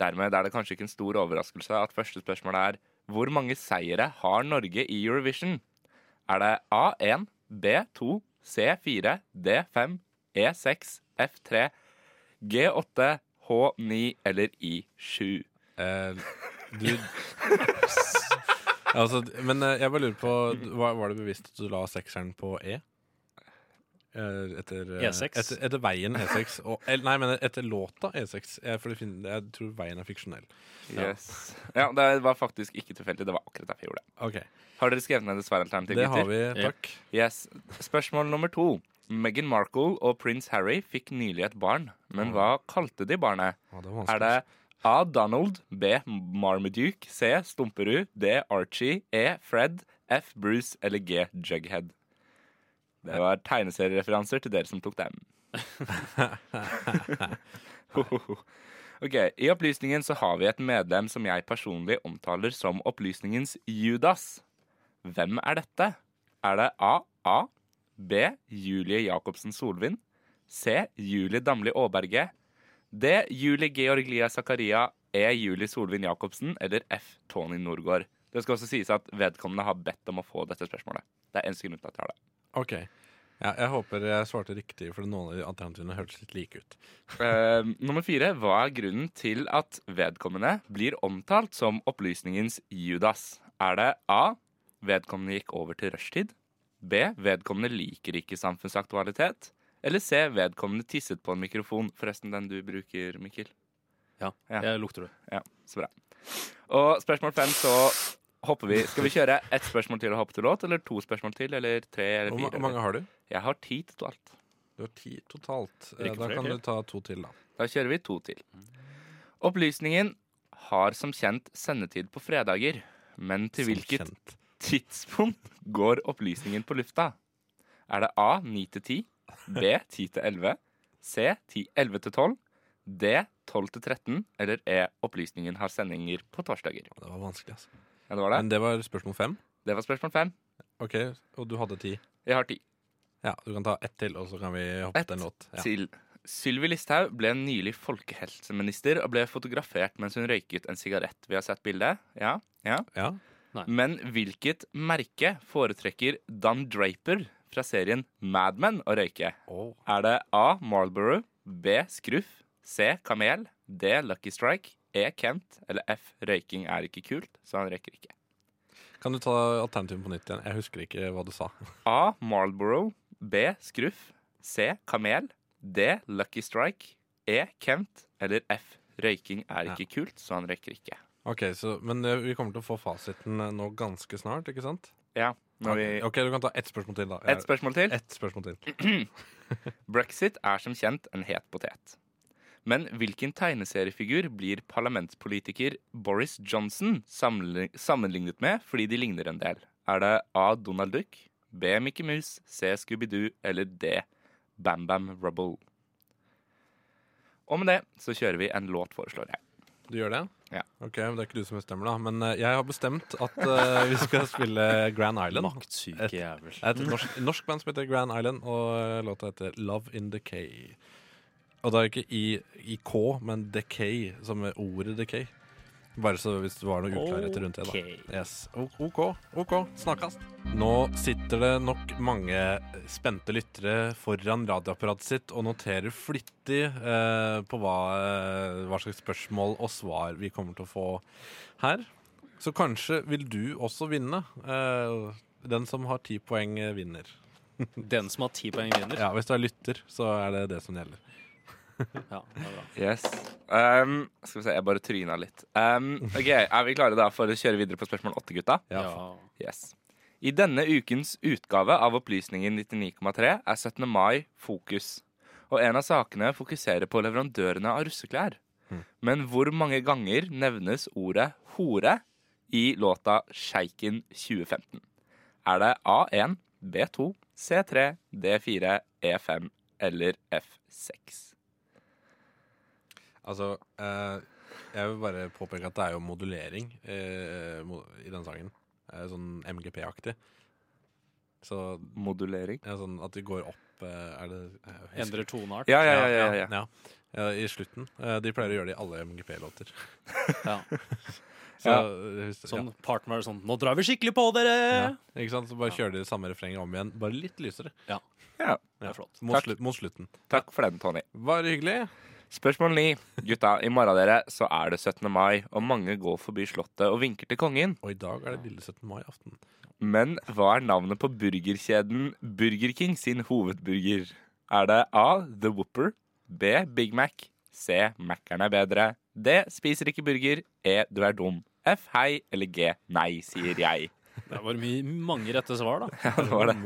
B: Dermed er det kanskje ikke en stor overraskelse at første spørsmål er hvor mange seire har Norge i Eurovision? Er det A1, B2, C4, D5, E6, F3, G8, H9 eller I7?
D: Eh, du altså, Men eh, jeg bare lurer på var, var det bevisst at du la sekseren på E? Eh, Etter,
B: E
D: eh,
A: E6.
D: Etter, etter veien E6. Og, eller, nei, men etter låta E6. Jeg, for det fin- jeg tror veien er fiksjonell.
B: Yes. Ja, det var faktisk ikke tilfeldig. Det var akkurat derfor jeg gjorde det.
D: Ok.
B: Har dere skrevet ned et svaralternativ?
D: Det har
B: gutter?
D: vi, takk.
B: Yes. Spørsmål nummer to. Meghan Markle og prins Harry fikk nylig et barn,
D: Mm.
B: men hva kalte de barnet?
D: Å, det var vanskelig.
B: er det A. Donald, B. Marmaduke, C. Stumperud, D. Archie, E. Fred, F. Bruce eller G. Jughead? Det var tegneseriereferanser til dere som tok dem. ok, I Opplysningen så har vi et medlem som jeg personlig omtaler som Opplysningens Judas. Hvem er dette? Er det A. A. B. Julie Jacobsen Solvin. C. Julie Damli Aaberge. D. Julie Georg Lia Zakaria. E. Julie Solvin Jacobsen. Eller F. Tony Norgård. Det skal også sies at vedkommende har bedt om å få dette spørsmålet. Det er eneste grunn til at jeg har det.
D: Ok. Ja, jeg håper jeg svarte riktig, for noen av de alternativene hørtes litt like ut.
B: Eh, nummer fire. Hva er grunnen til at vedkommende blir omtalt som opplysningens Judas? Er det A. Vedkommende gikk over til rushtid. B. Vedkommende liker ikke samfunnsaktualitet. Eller C. Vedkommende tisset på en mikrofon. Forresten, den du bruker, Mikkel.
A: Ja, jeg lukter det.
B: Ja, så bra. Og spørsmål fem, så hopper vi. Skal vi kjøre ett spørsmål til og hoppe til låt, eller to spørsmål til, eller tre, eller
D: Hvor
B: fire?
D: ma- mange har du?
B: Jeg har ti totalt.
D: Du har ti totalt. Eh,
B: Ikke
D: Da
B: flere
D: kan
B: til.
D: du ta to til, da.
B: Da kjører vi to til. Opplysningen har som kjent sendetid på fredager, men til
D: Som
B: hvilket tidspunkt går opplysningen på lufta? Er det A 9 til 10, B 10 til 11, C 10, 11 til 12, D 12 til 13 eller E opplysningen har sendinger på torsdager?
D: Det var vanskelig, altså.
B: Ja, det var det.
D: Men det var spørsmål fem?
B: Det var spørsmål fem.
D: Ok, Og du hadde ti?
B: Jeg har ti.
D: Ja, Du kan ta ett til, og så kan vi hoppe til en låt. Ja.
B: til Sylvi Listhaug ble nylig folkehelseminister og ble fotografert mens hun røyket en sigarett. Vi har sett bildet. Ja? ja. Men hvilket merke foretrekker Dan Draper fra serien Mad Men å røyke? Er det A. Marlboro, B. Scruff, C. Kamel, D. Lucky Strike, E. Kent eller F. Røyking er ikke kult, så han røyker ikke.
D: Kan du ta alternativet på nytt igjen? Jeg husker ikke hva du sa.
B: A. Marlboro. B. Scruff. C. Kamel. D. Lucky Strike. E. Kent. Eller F. Røyking er ikke kult, så han røyker ikke.
D: Ok, så, Men eh, vi kommer til å få fasiten eh, nå ganske snart, ikke sant?
B: Ja, når
D: Ok,
B: vi-
D: ok, du kan ta ett spørsmål til, da.
B: Ett spørsmål til?
D: Ett spørsmål til.
B: Brexit er som kjent en het potet. Men hvilken tegneseriefigur blir parlamentspolitiker Boris Johnson sammenli- sammenlignet med fordi de ligner en del? Er det A. Donald Duck, B. Mickey Mouse, C. Scooby-Doo eller D. Bam Bam Rubble? Og med det så kjører vi en låt, foreslår jeg.
D: Du gjør det?
B: Ja.
D: Ok, men Det er ikke du som bestemmer, da. Men eh, jeg har bestemt at eh, vi skal spille Grand Island.
A: Maktsyke jævel.
D: Et, et norsk, norsk band som heter Grand Island, og eh, låta heter Love in Decay. Og det er ikke i, i K, men Decay, som er ordet Decay. Bare så hvis det var noe uklarhet rundt det. da yes. O- OK, OK, snakkast. Nå sitter det nok mange spente lyttere foran radioapparatet sitt og noterer flittig eh, på hva, eh, hva slags spørsmål og svar vi kommer til å få her. Så kanskje vil du også vinne. Eh, den som har ti poeng, eh, vinner.
A: Den som har ti poeng, vinner?
D: Ja, Hvis du er lytter, så er det det som gjelder.
A: Ja, det er bra.
B: Yes. Um, skal vi se, jeg bare tryna litt. Um, ok, Er vi klare da for å kjøre videre på spørsmål åtte, gutta?
A: Ja.
B: Yes. I denne ukens utgave av Opplysningen 99,3 er 17. mai fokus. Og en av sakene fokuserer på leverandørene av russeklær. Men hvor mange ganger nevnes ordet hore i låta Sjeiken 2015? Er det A1, B2, C3, D4, E5 E eller F6?
D: Altså, eh, jeg vil bare påpeke at det er jo modulering eh, mo- i den sangen. Eh, sånn MGP-aktig. Så
B: Modulering?
D: Ja, sånn at de går opp eh, er det, jeg husker-
A: Endrer toneart?
B: Ja, ja, ja, ja, ja.
D: eh, i slutten. Eh, de pleier å gjøre det i alle MGP-låter.
A: ja.
D: Så,
A: Ja.
D: eh, hvis-
A: Sånn partner sånn Nå drar vi skikkelig på dere!
D: Ja. Ikke sant? Så bare kjører de det samme refrenget om igjen, bare litt lysere.
A: Ja.
B: Ja.
D: Det er flott. Mot, slu mot slutten.
B: Takk for den, Tony.
D: Bare hyggelig.
B: Spørsmål 9. Gutta, i morgen dere, så er det 17. mai, og mange går forbi Slottet og vinker til kongen.
D: Og i dag er det lille 17. mai-aften.
B: Men hva er navnet på burgerkjeden Burger King sin hovedburger? Er det A. The Whopper. B. Big Mac. C. Mackeren er bedre. D. Spiser ikke burger. E. Du er dum. F. Hei. Eller G. Nei, sier jeg.
A: Det var my mange rette svar, da.
B: Ja, det var det.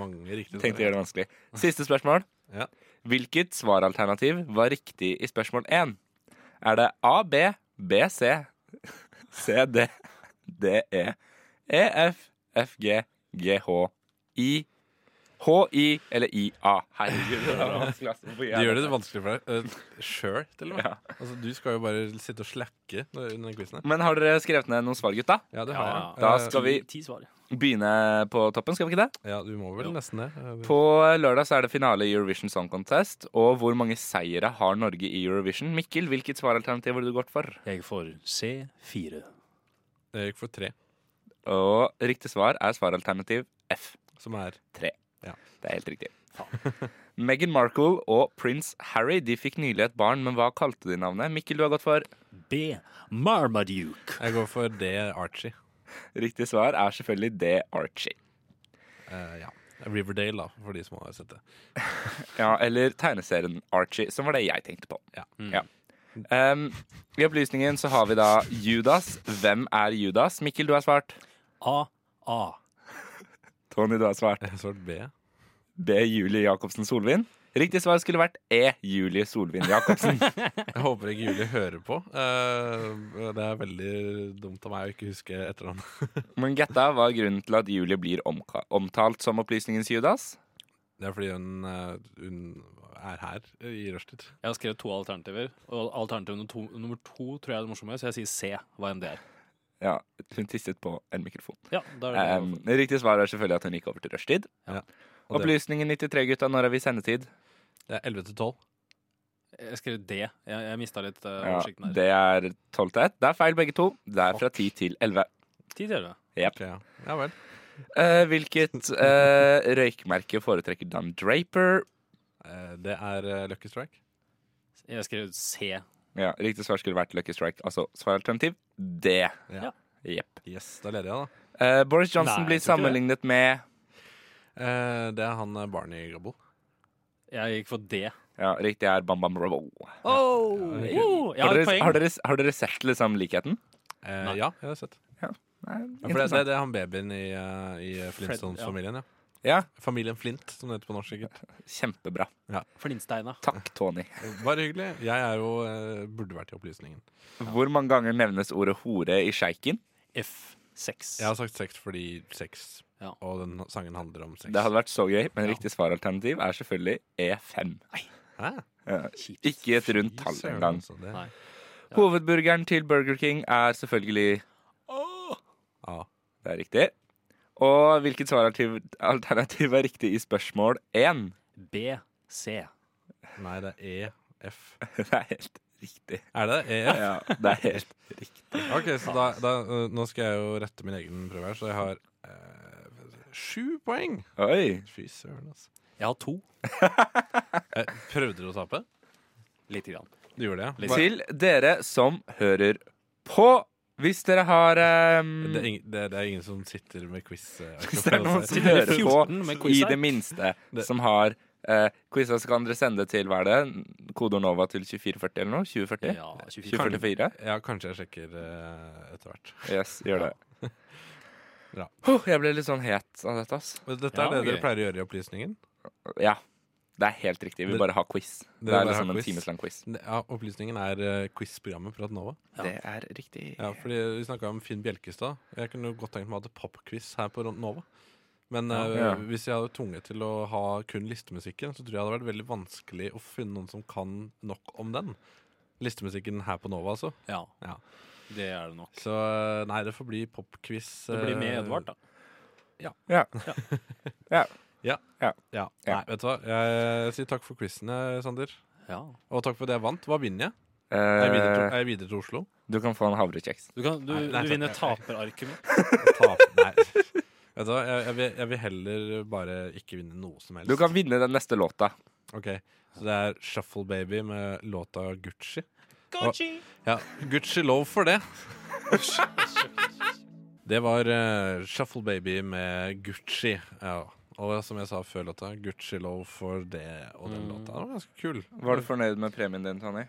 B: Tenkte å gjøre det vanskelig. Siste spørsmål. Hvilket svaralternativ var riktig i spørsmål 1? Er det A, B, B, C, C, D, D, E, E, F, F, G, G, H, I, H, I eller I, A? Herregud, det var vanskelig. ass. Hvorfor
D: De
B: jeg
D: gjør det
B: dette?
D: vanskelig for deg uh, sjøl, til og med.
B: Ja.
D: Altså, du skal jo bare sitte og slacke når- under den quizen her.
B: Men har dere skrevet ned noen svar, gutta?
D: Ja, det har Ja. jeg.
B: Da
D: Eh,
B: skal vi
A: ti- ti svar.
B: begynne på toppen, skal vi ikke det?
D: Ja, du må vel nesten det. Eh,
B: På lørdag så er det finale i Eurovision Song Contest. Og hvor mange seire har Norge i Eurovision? Mikkel, hvilket svaralternativ ville du gått for?
A: Jeg får C4.
D: Jeg gikk for tre.
B: Og riktig svar er svaralternativ F.
D: Som er?
B: Tre.
D: Ja.
B: Det er helt riktig. Meghan Markle og prins Harry de fikk nylig et barn, men hva kalte de navnet? Mikkel, du har gått for
A: B. Marmaduke.
D: Jeg går for D. Archie.
B: Riktig svar er selvfølgelig D. Archie.
D: Eh, ja. Riverdale, da, for de som har sett det.
B: Ja, eller tegneserien Archie, som var det jeg tenkte på. Ja. Um, I opplysningen så har vi da Judas. Hvem er Judas? Mikkel, du har svart.
A: A. A.
B: Tony, du har svart.
D: Jeg har svart B.
B: B. Julie Jacobsen Solvin. Riktig svar skulle vært E. Julie Solvin Jacobsen.
D: Jeg håper ikke Julie hører på. Eh, det er veldig dumt av meg å ikke huske etternavnet.
B: Men gjetta hva er grunnen til at Julie blir omka omtalt som opplysningens Judas?
D: det er fordi hun, eh, hun er her i rushtid.
A: Jeg har skrevet to alternativer, og alternativ nummer to, nummer to tror jeg er det morsomme, så jeg sier C, hva enn det er.
B: Ja, hun tisset på en mikrofon.
A: Ja, da er det det jeg
B: Ehm, riktig svar er selvfølgelig at hun gikk over til rushtid.
D: Og det-
B: Opplysningen 93, gutta, når har vi sendetid?
D: Det er 11 til 12.
A: Jeg skrev D. Jeg, jeg mista litt eh,
B: Ja,
A: oversikten her.
B: det er 12 til 1. Det er feil, begge to. Det er fra 10 til 11.
A: Ti til elleve.
B: Jep.
D: Ja vel.
B: Eh, hvilket eh, røykmerke foretrekker Dan Draper?
D: Eh, det er eh, Lucky Strike.
A: Jeg skrev C.
B: Ja, Riktig svar skulle vært Lucky Strike. Altså svaralternativ D.
A: Ja.
B: Jepp.
D: Yes, da leder jeg, da.
B: Eh, Boris Johnson
D: Nei,
B: blir
D: jeg tror ikke
B: sammenlignet med
D: Eh, det er han eh, Barney Gobble.
A: Jeg gikk for D.
B: Ja, riktig er Bam Bam Robo.
A: Oh, oh, jeg
B: har,
A: har et
B: dere,
A: poeng.
B: har, dere, har dere sett liksom likheten?
D: Eh, ja, jeg har sett. Ja, for det,
B: interessant.
D: det, det er han babyen i, eh, i Flintstones-familien, ja.
B: Ja.
D: Familien Flint, som det heter på norsk. sikkert
B: Kjempebra.
D: Ja.
A: Flintsteina.
B: Takk, Tony.
D: Eh, Bare hyggelig. Jeg er jo, eh, burde vært i Opplysningen.
B: Hvor mange ganger nevnes ordet hore i sjeiken?
A: F6.
D: Jeg har sagt sex fordi sex,
A: Ja.
D: og den sangen handler om sex.
B: Det hadde vært så gøy, men riktig svaralternativ er selvfølgelig E5.
D: Hæ?
B: Ja, Ikke et rundt
D: Fy
B: tall
D: søren,
B: engang.
D: altså, det- Nei.
B: Hovedburgeren til Burger King er selvfølgelig
D: A.
B: Det er riktig. Og hvilket svaralternativ alternativ er riktig i spørsmål 1?
A: B. C.
D: Nei, det er EF.
B: Det er helt riktig.
D: Er det E det? EF?
B: Ja, det er helt riktig.
D: Ok, så da, da, eh, Nå skal jeg jo rette min egen prøve her, så jeg har eh, sju poeng.
B: Oi.
D: Fy søren, altså.
A: Jeg har to.
D: Eh, prøvde du å tape?
A: Lite grann.
D: Du gjorde det, ja?
B: Til dere som hører på. Hvis dere har ehm,
D: Det er, ing, det, det er ingen som sitter med quiz. eh,
B: Hvis det er noen som
D: Sitter
B: hører
D: de 14 med
B: på,
D: quiz
B: i
D: her?
B: det minste, som har eh, quiz, så kan dere sende det til hva er det? Kodeord Nova til 2440 eller noe? 2040?
D: Ja, 24.
B: 2044?
D: Ja, kanskje jeg sjekker eh, etter hvert.
B: Yes, gjør det.
D: Bra.
B: Huh, jeg ble litt sånn het av dette, ass.
D: Men Dette er det dere pleier å gjøre i Opplysningen?
B: Ja. Det er helt riktig. Vi
D: Dere-
B: bare har quiz. Det
D: Dere
B: er
D: bare
B: liksom
D: har
B: en timeslang quiz.
D: Ne- Ja, Opplysningen er eh, quiz-programmet fra Adnova.
B: Ja. Det er riktig.
D: Ja, fordi Vi snakka om Finn Bjelkestad. Jeg kunne jo godt tenkt meg å ha et popquiz her på Nova. Men
B: Ja.
D: eh,
B: Ja.
D: hvis jeg hadde tunge til å ha kun listemusikken, så tror jeg det hadde vært veldig vanskelig å finne noen som kan nok om den. Listemusikken her på Nova, altså.
A: Ja.
D: Ja.
A: Det er det nok.
D: Så eh, nei, det får bli popquiz.
A: Det blir med
D: eh,
A: Edvard, da.
D: Ja.
B: Ja.
D: Ja. Ja. Nei, vet du hva? Jeg sier takk for quizene, Sander. Og takk for at jeg vant. Hva vinner jeg? Er jeg videre til, er jeg videre til Oslo?
B: Eh, Du kan få en havrekjeks.
A: Du, kan, du,
D: Nei, nei,
A: du
D: takk,
A: vinner
D: nei.
A: taperarket mitt.
D: Tap, nei. Vet du hva, jeg, jeg, vil, jeg vil heller bare ikke vinne noe som helst.
B: Du kan vinne den neste låta.
D: Ok, Så det er Shuffle Baby med låta Gucci.
B: Gucci.
D: Og, ja, Gucci lov for det. det var eh, Shuffle Baby med Gucci. Ja. Og som jeg sa før låta, Gucci lov for det. Og
B: Mm.
D: den låta den var ganske kul.
B: Var du fornøyd med premien din, Tony?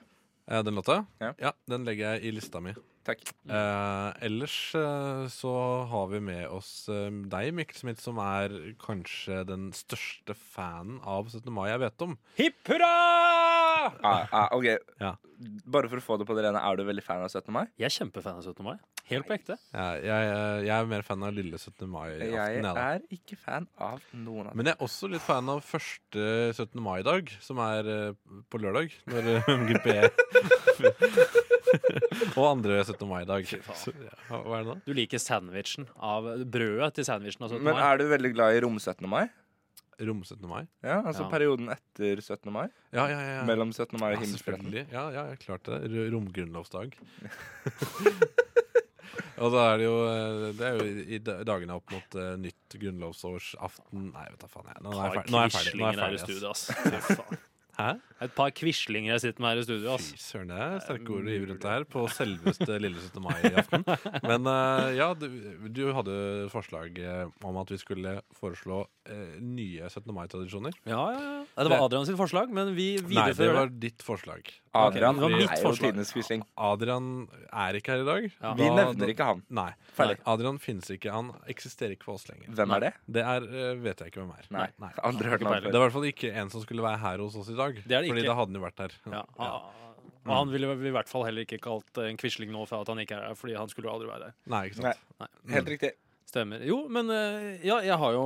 D: Eh, Den låta? Ja. Den legger jeg i lista mi.
B: Takk.
D: Eh, ellers eh, så har vi med oss eh, deg, Mikkel Smith, som er kanskje den største fanen av 17. mai jeg vet om.
A: Hipp hurra!
B: Ah, ah, ok.
D: Ja.
B: Bare for å få det på det rene, er du veldig fan av 17. mai?
A: Jeg er kjempefan av 17. mai. Helt på ekte.
D: Ja, jeg, eh, jeg er mer fan av lille 17. mai-aften.
B: Jeg
D: da.
B: er ikke fan av noen av dem.
D: Men jeg er også litt fan av første 17. mai-dag, som er eh, på lørdag. Når eh, MGP Og andre 17. mai-dag. Så, ja, Hva er det da?
A: Du liker sandwichen av brødet til sandwichen av 17.
B: Men
A: mai.
B: er du veldig glad i rom 17. mai?
D: Rom 17. mai?
B: Ja, altså
A: Ja.
B: perioden etter 17. mai?
D: Ja, ja, ja. ja.
B: Mellom 17. mai og
D: ja,
B: himmelspretten?
D: selvfølgelig. Ja, ja, ja, klart det. R- Romgrunnlovsdag. Og da er det jo eh, Det er jo i da- dagene opp mot eh, nytt grunnlovsårsaften Nei, vet da faen. Jeg. Nå er jeg ferdig. Nå er jeg ferdig. Nå er jeg ferdig, ass. Hæ?
A: Et par quislinger jeg sitter med her i studio. ass.
D: Fy søren, det er sterke ord å hive rundt det her på selveste lille 17. mai-aften. Men eh, ja, du, du hadde forslag eh, om at vi skulle foreslå eh, nye 17. mai-tradisjoner.
A: Ja, ja, ja. Nei, Det var Adrian sitt forslag, men vi
D: Nei, det
A: viderefører
D: var ditt forslag.
B: Adrian
D: Ok, det var
B: er
D: mitt
B: jo
D: forslag.
B: tidenes quisling.
D: Adrian er ikke her i dag.
B: Ja. Vi nevner ikke han.
D: Nei.
B: Ferdig.
D: Nei, Adrian finnes ikke. Han eksisterer ikke for oss lenger.
B: Hvem er det?
D: Det er, eh, vet jeg ikke hvem er.
B: Nei. Aldri hørt
D: Det
B: om han
D: var
B: før.
D: i hvert fall ikke en som skulle være her hos oss i dag.
A: Det er det
D: fordi
A: ikke.
D: da hadde han jo vært her.
A: Ja. Ah. Og han ville i hvert fall heller ikke kalt en quisling nå for at han ikke er her, fordi han skulle jo aldri være her.
D: Nei, ikke sant.
A: Nei.
B: Helt riktig.
D: Mm.
A: Stemmer. Jo, men eh, ja, jeg har jo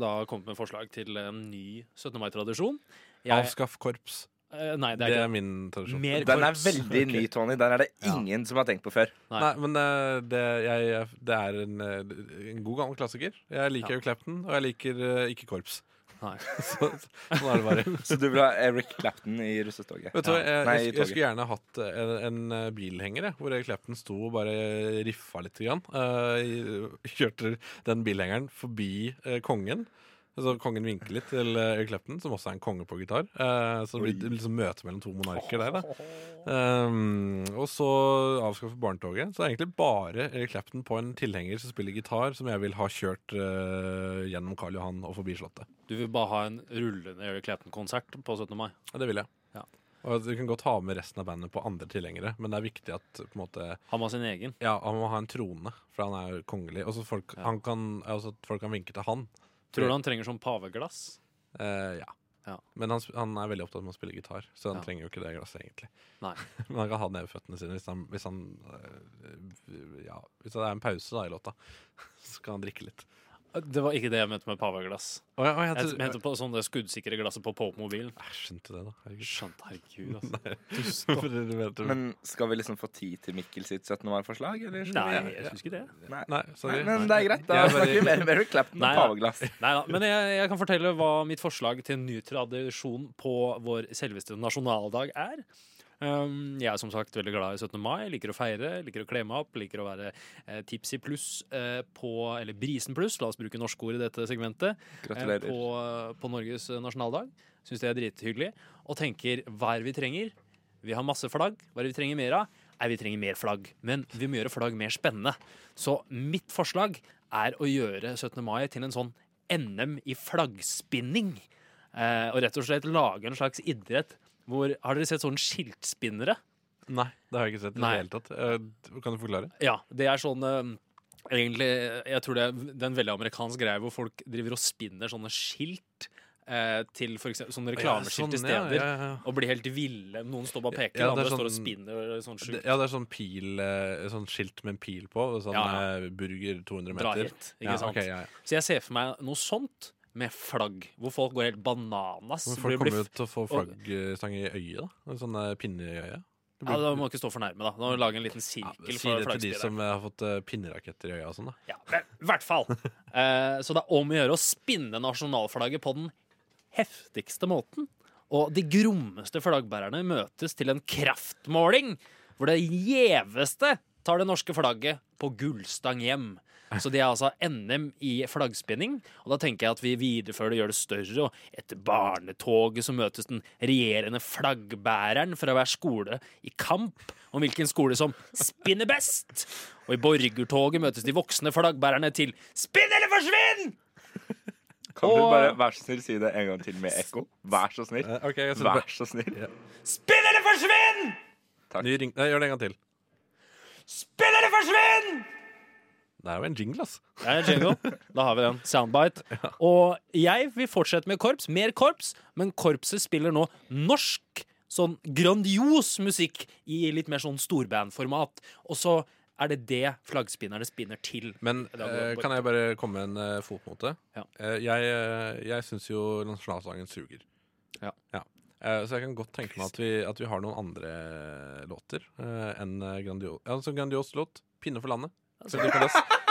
A: da kommet med forslag til en ny 17. mai-tradisjon. Jeg-
D: Avskaff korps.
A: Eh, nei, det er,
D: Det
A: ikke
D: er min tradisjon.
A: Mer
B: Den er
A: korps.
B: veldig ny,
A: Ok.
B: Tony. Den er det ingen som har tenkt på før.
D: Nei. men det, det, jeg, jeg- det er en, eh, en god gammel klassiker. Jeg liker jo Clapton, og jeg liker eh, ikke korps.
A: Nei.
D: så, sånn er det bare.
B: Så du vil ha Eric Clapton i russestoget?
D: Vet du, hva,
B: Ja.
D: jeg,
B: Nei,
D: jeg,
B: i
D: jeg skulle
B: toget.
D: gjerne hatt en, en bilhenger jeg, hvor Eric Clapton sto og bare riffa litt. Grann. Eh, i- kjørte den bilhengeren forbi eh, kongen. Så kongen vinker litt til eh, Eric Clapton, som også er en konge på gitar. Eh, så det blir liksom møte mellom to monarker der. da Ehm, Og så avskaffe barnetoget. Så det er egentlig bare Eric Clapton på en tilhenger som spiller gitar, som jeg vil ha kjørt eh, gjennom Karl Johan og forbi Slottet.
A: Du vil bare ha en rullende Eric Clapton-konsert på 17. mai?
D: Ja, det vil jeg.
A: Ja.
D: Og Du kan godt ha med resten av bandet på andre tilhengere, men det er viktig at på en måte,
A: Han må ha sin egen.
D: ja, han må ha en trone, for han er jo kongelig. Og så folk, han kan- altså at folk kan vinke til han.
A: Tror du han trenger sånn paveglass?
D: Eh, ja.
A: Ja.
D: Men han, sp- han er veldig opptatt med å spille gitar, så han
A: Ja.
D: trenger jo ikke det glasset, egentlig.
A: Nei.
D: Men han kan ha det nede ved føttene sine hvis han, hvis han eh, Ja, hvis det er en pause da i låta, så kan han drikke litt.
A: Det var ikke det jeg mente med paveglass.
D: Å ja, å, jeg
A: jeg,
D: trodde-
A: mente på sånn det skuddsikre glasset på Pope-mobilen.
D: Jeg skjønte det, da. Herregud.
A: Skjønt, herregud, altså.
D: Nei.
A: Dust, da.
D: For dere vet jo-
B: Men skal vi liksom få tid til Mikkel sitt 17. mai-forslag? eller skal
A: Nei,
B: vi-
A: jeg syns ikke det.
B: Nei.
D: Nei, sorry.
B: Nei, men det er greit. Da
D: Jeg er
B: snakker vi
D: veldig-
B: mer om Eric Clapton og
A: Nei, da.
B: paveglass.
A: Neida, Men jeg, jeg kan fortelle hva mitt forslag til en ny tradisjon på vår selveste nasjonaldag er. Um, jeg er som sagt veldig glad i 17. mai. Liker å feire, liker å kle meg opp. Liker å være eh, tipsy pluss eh, på Eller brisen pluss, la oss bruke norske ord i dette segmentet. eh,
B: Gratulerer.
A: på, på Norges eh, nasjonaldag. Syns det er drithyggelig. Og tenker hva er det vi trenger? Vi har masse flagg. Hva er det vi trenger mer av? Nei, vi trenger mer flagg. Men vi må gjøre flagg mer spennende. Så mitt forslag er å gjøre 17. mai til en sånn NM i flaggspinning. Eh, og rett og slett lage en slags idrett hvor Har dere sett sånne skiltspinnere?
D: Nei, det har jeg ikke sett i det
A: Nei.
D: hele tatt. Eh, Kan du forklare?
A: Ja, det er sånn eh, Egentlig, jeg tror det er det er en veldig amerikansk greie hvor folk driver og spinner sånne skilt eh, til for eksempel sånne
D: Ja,
A: reklameskilt til
D: sånn, ja,
A: steder.
D: ja, ja.
A: Og blir helt ville. Noen står bare og peker,
D: Ja, det er
A: andre står og
D: sånn-
A: spinner sånn
D: Det,
A: sjukt.
D: ja, det er sånn pil eh, Sånn skilt med en pil på. og Sånn
A: Ja,
D: eh, burger 200 meter.
A: Dra hit, ikke
D: ja,
A: sant?
D: ok, ja, ja.
A: Så jeg ser for meg noe sånt med flagg, hvor folk går helt bananas.
D: Men
A: Blir-
D: Folk
A: blir
D: kommer jo
A: f-
D: til å få
A: og-
D: flaggstang i øyet. da En Sånn eh, pinne i øyet. Det
A: Ja,
D: blir-
A: da må du ikke stå for nærme, da. Da må du lage en liten sirkel.
D: Si det
A: for
D: til de
A: flaggspilleren.
D: som eh, har fått eh, pinneraketter i øya og sånn, da.
A: Ja, men i hvert fall. Eh, så det er om å gjøre å spinne nasjonalflagget på den heftigste måten. Og de grommeste flaggbærerne møtes til en kraftmåling, hvor det gjeveste tar det norske flagget på gullstang hjem. Så det er altså NM i flaggspinning. Og da tenker jeg at vi viderefører det og gjør det større. Og etter barnetoget så møtes den regjerende flaggbæreren fra hver skole i kamp om hvilken skole som spinner best. Og i borgertoget møtes de voksne flaggbærerne til Spinn eller forsvinn!
B: Kan du
A: Og-
B: bare vær så snill si det en gang til med ekko? Vær så
D: Eh,
B: snill.
D: bare-
B: Vær så snill.
A: Spinn eller forsvinn!
D: Ny ring... Nei, gjør det en gang til.
A: Spinn eller forsvinn!
D: Det er jo en jingle, ass.
A: Det er en jingle. Da har vi den. Soundbite. Og jeg vil fortsette med korps. Mer korps. Men korpset spiller nå norsk, sånn grandios musikk i litt mer sånn storbandformat. Og så er det det flaggspinnerne spinner til.
D: Men eh, kan jeg bare komme med en eh, fotnote? Eh, jeg eh, jeg syns jo nasjonalsangen suger.
A: Ja.
D: Eh, så jeg kan godt tenke meg at vi, at vi har noen andre låter eh, enn eh, grandio ja, altså grandios låt. 'Pinne for landet'. Selvfølgelig for oss.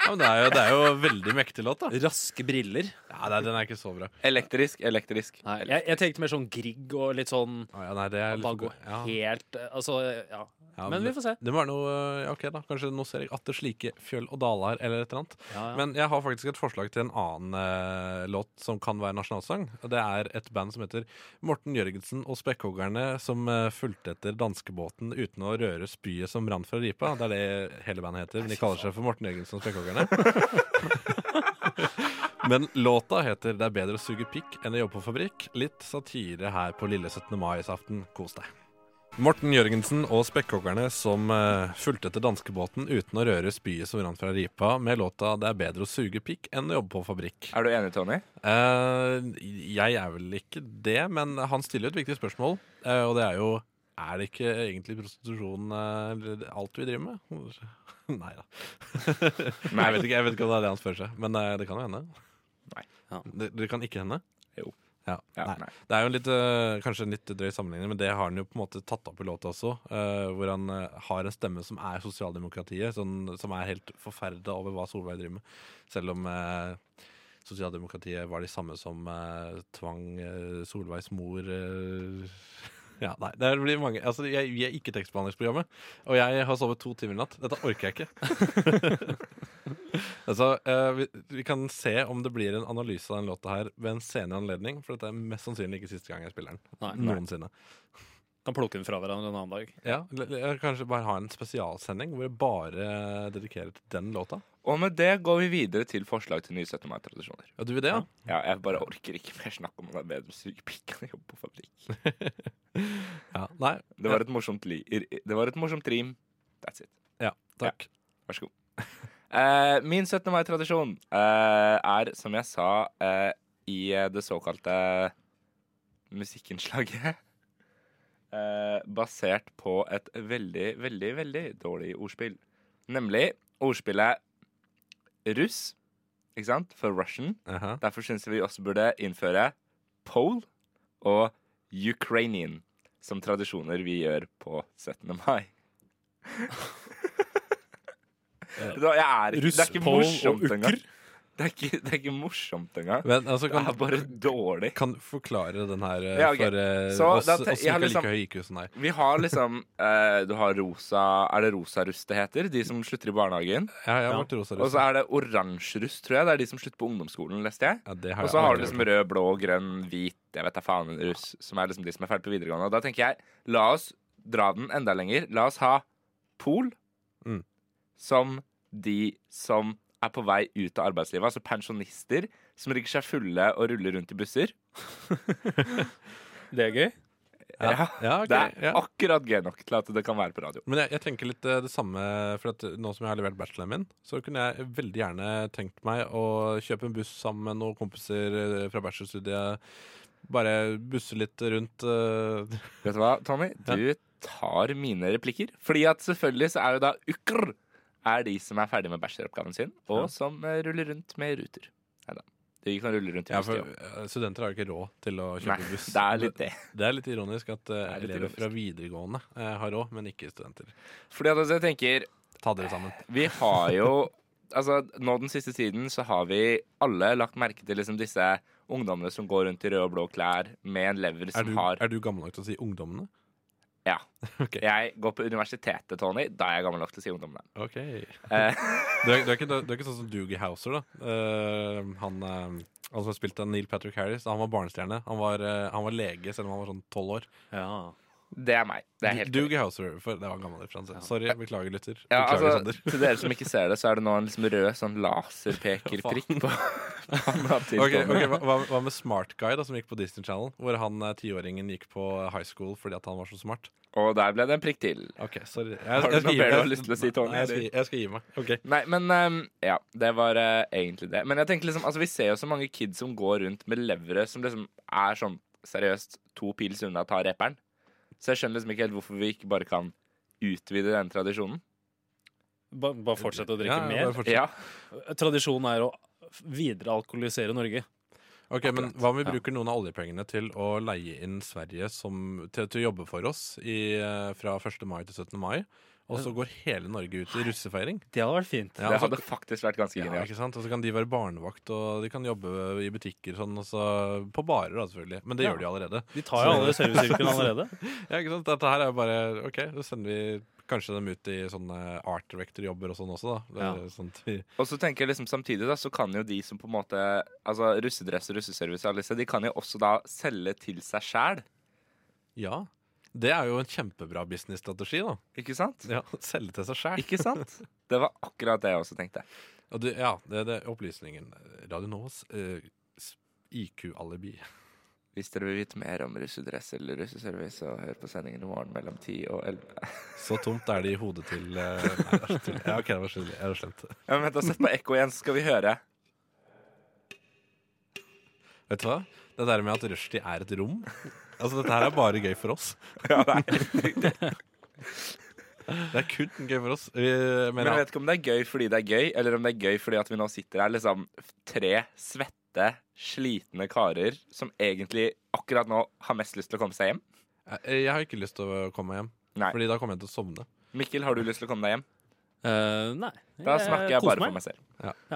D: Ja, men det er, jo, det er jo veldig mektig låt, da.
A: Raske briller.
D: Ja, nei, Den er ikke så bra.
B: Elektrisk, elektrisk.
A: Nei, jeg, jeg tenkte mer sånn Grieg og litt sånn
D: nei, det er
A: Bare
D: litt-
A: gå
D: ja.
A: helt eh, Altså, ja.
D: Ja,
A: men vi får se.
D: Det må være noe, ja, ok da Kanskje noe ser jeg atter slike fjøll og dalar eller et eller annet. Men jeg har faktisk et forslag til en annen eh, låt som kan være nasjonalsang. Og Det er et band som heter Morten Jørgensen og Spekkhoggerne, som eh, fulgte etter danskebåten uten å røre spyet som rant fra ripa. Det er det hele bandet heter, men de kaller seg for Morten Jørgensen og Spekkhoggerne. Men låta heter 'Det er bedre å suge pikk enn å jobbe på fabrikk'. Litt satire her på lille 17. mai-aften. Kos deg. Morten Jørgensen og spekkhoggerne som eh, fulgte etter danskebåten uten å røre spyet som rant fra ripa, med låta 'Det er bedre å suge pikk enn å jobbe på fabrikk'.
B: Er du enig, Tony?
D: Eh, jeg er vel ikke det, men han stiller jo et viktig spørsmål, eh, og det er jo er det ikke egentlig prostitusjon eh, eller alt vi driver med? Nei da. Nei, jeg vet ikke, jeg vet ikke om det er det han spør seg, men eh, det kan jo hende. Nei. Det, det kan ikke hende? Jo. Ja. nei. Det er jo en litt, øh, kanskje en litt drøy sammenligning, men det har han jo på en måte tatt opp i låta også. øh, hvor han øh, har en stemme som er sosialdemokratiet, sånn, som er helt forferda over hva Solveig driver med. Selv om øh, sosialdemokratiet var de samme som øh, tvang øh, Solveigs mor øh, ja, nei, det blir mange Altså, jeg, Vi er ikke tekstbehandlingsprogrammet, og jeg har sovet to timer i natt. Dette orker jeg ikke. altså, eh, vi, vi kan se om det blir en analyse av den låta her ved en senere anledning, for dette er mest sannsynlig ikke siste gang jeg spiller den.
A: Nei, nei.
D: Noensinne.
A: Kan plukke den fra hverandre en annen dag.
D: Ja, l- l- Kanskje bare ha en spesialsending hvor jeg bare dedikerer til den låta.
B: Og med det går vi videre til forslag til nye 17. mai-tradisjoner.
D: Ja, du vil det, ja?
B: Ja, jeg bare orker ikke mer snakk om at det er bedre å suge pikk enn å jobbe på fabrikk.
D: ja, nei.
B: Det var et morsomt, li det var et morsomt rim. That's it.
D: Ja, takk.
B: Vær så god. Eh, min 17. mai-tradisjon eh, er, som jeg sa eh, i eh, det såkalte musikkinnslaget eh, Basert på et veldig, veldig, veldig dårlig ordspill. Nemlig ordspillet russ, ikke sant, for Russian. Derfor syns vi også burde innføre pole og Ukrainian som tradisjoner vi gjør på 17. mai. Det er- jeg er ikke,
D: Russ,
B: det er ikke
D: Pole og
B: morsomt
D: ukker.
B: engang. Det er, ikke, det er ikke morsomt engang.
D: Men, altså, kan,
B: det er bare dårlig.
D: Kan du forklare den her eh,
B: Ja, ok.
D: for eh,
B: Så
D: oss,
B: da
D: oss
B: te- jeg
D: som
B: har
D: ikke
B: liksom-
D: liker høy IQ som deg?
B: Vi har liksom eh, Du har rosa Er det rosa rust det heter? De som slutter i barnehagen?
D: Ja, jeg har vært rosa rust.
B: Og så er det oransje rust, tror jeg. Det er de som slutter på ungdomsskolen, leste jeg.
D: det har
B: og
D: jeg
B: så har
D: aldri
B: du liksom
D: hørt
B: rød, blå, grønn, hvit, jeg vet da faen, russ, som er liksom de som er ferdig på videregående. Og da tenker jeg, la oss dra den enda lenger. La oss ha pol
D: Mm.
B: som de som er på vei ut av arbeidslivet, altså pensjonister som rigger seg fulle og ruller rundt i busser. liksom-
A: det er gøy.
B: Ja,
D: Ja, ok,
B: Det er
D: ja.
B: akkurat gøy nok til at det kan være på radio.
D: Men jeg, jeg tenker litt eh, det samme, for at eh, nå som jeg har levert bacheloren min, så kunne jeg veldig gjerne tenkt meg å kjøpe en buss sammen med noen kompiser eh, fra bachelorstudiet. Bare busse litt rundt eh,
B: Vet du hva, Tommy? Du tar mine replikker. Fordi at selvfølgelig så er jo da ukker er de som er ferdig med bacheloroppgaven sin, og
D: Ja.
B: som eh, ruller rundt med ruter. Neida. De kan rulle rundt i
D: Ja,
B: buss,
D: for
B: de også.
D: eh, studenter har jo ikke råd til å kjøpe
B: Nei,
D: buss.
B: det er litt det.
D: Det er litt ironisk at eh,
B: Det er litt
D: elever fra videregående eh, har råd, men ikke studenter.
B: Fordi at altså, jeg tenker
D: Ta dere sammen.
B: Vi har jo Altså, nå den siste tiden så har vi alle lagt merke til liksom disse ungdommene som går rundt i røde og blå klær med en lever
D: Er
B: som
D: du,
B: har
D: er du gammel nok til å si ungdommene?
B: Ja. Jeg går på universitetet, Tony. Da er jeg gammel nok til å si ungdommene.
D: Ok. Du
B: Eh.
D: er, du, er ikke, du er ikke sånn som Doogie Howser, da. Eh, han, eh, han som spilte Neil Patrick Harris, han var barnestjerne. Han var, eh, han var lege selv om han var sånn tolv år.
B: Det er meg. Det er helt
D: Doogie Howser, for det var en gammel referanse. Sorry, beklager, lytter.
B: Ja,
D: Beklager,
B: altså,
D: Sander.
B: til dere som ikke ser det, så er det nå en liksom rød sånn laserpekerprikk på panna til
D: Ok,
B: Tony.
D: ok, hva- hva, hva med Smart Guy, da, som gikk på Disney Channel? Hvor han eh, tiåringen gikk på high school fordi at han var så smart.
B: Og der ble det en prikk til.
D: Ok, sorry. Jeg,
B: Har du
D: jeg skal
B: noe
D: gi
B: mer
D: meg-
B: du har lyst til å si, Tony?
D: Nei, Jeg skal, gi- jeg skal gi meg. Ok.
B: Nei, men ehm, ja, det var eh, egentlig det. Men jeg tenker liksom, altså vi ser jo så mange kids som går rundt med levere som liksom er sånn seriøst to pils unna å ta reperen. Så jeg skjønner liksom ikke helt hvorfor vi ikke bare kan utvide den tradisjonen.
A: Ba, bare fortsette å drikke
B: Ja, bare
A: mer.
B: fortsett. Ja.
A: Tradisjonen er å viderealkoholisere Norge.
D: Ok, Men hva om vi
A: Ja.
D: bruker noen av oljepengene til å leie inn Sverige som, til, til å jobbe for oss i, eh, fra 1. mai til 17. mai? Og så går hele Norge ut i russefeiring?
A: Det hadde vært fint.
B: det hadde faktisk vært ganske
D: altså, ja,
B: genialt.
D: ikke sant? Og så kan de være barnevakt, og de kan jobbe i butikker sånn, og så på barer, da, selvfølgelig. Men det
A: Ja.
D: gjør de allerede.
A: De tar jo
D: Så-
A: alle serviceyrkene allerede.
D: ja, ikke sant? Dette her er jo bare OK, så sender vi kanskje dem ut i sånne art director-jobber og sånn også, da. Det er Sånn at vi
B: Og så tenker jeg liksom samtidig da, så kan jo de som på en måte Altså russedress og russeservice og alle disse, de kan jo også da selge til seg sjæl.
D: Ja. Det er jo en kjempebra businessstrategi, da.
B: Ikke sant?
D: Ja, Selge til seg sjæl.
B: Ikke sant? Det var akkurat det jeg også tenkte.
D: Og du, ja, det, det er opplysningen. Radio Novas eh, s- IQ-alibi.
B: Hvis dere vil vite mer om russedress eller russeservice, så hør på sendingen i morgen mellom 10 og 11.
D: Så tomt er det i hodet til eh, Nei, det er så tull. Ja, OK, det var skjønnelig. Jeg har slemt.
B: Ja, men vent, da, Sett på ekko igjen, så skal vi høre.
D: Vet du hva? Det der med at rushtid er et rom Altså, dette her er bare gøy for oss.
B: Ja, det er helt riktig.
D: Det er kun gøy for oss. Eh,
B: Men
D: men,
B: jeg
D: ja.
B: vet ikke om det er gøy fordi det er gøy, eller om det er gøy fordi at vi nå sitter her liksom tre svette, slitne karer som egentlig akkurat nå har mest lyst til å komme seg hjem.
D: Eh, jeg har ikke lyst til å komme hjem.
B: Nei.
D: Fordi da kommer jeg til å sovne.
B: Mikkel, har du lyst til å komme deg hjem?
A: Eh, nei.
B: Da snakker jeg
A: koser
B: bare for meg selv.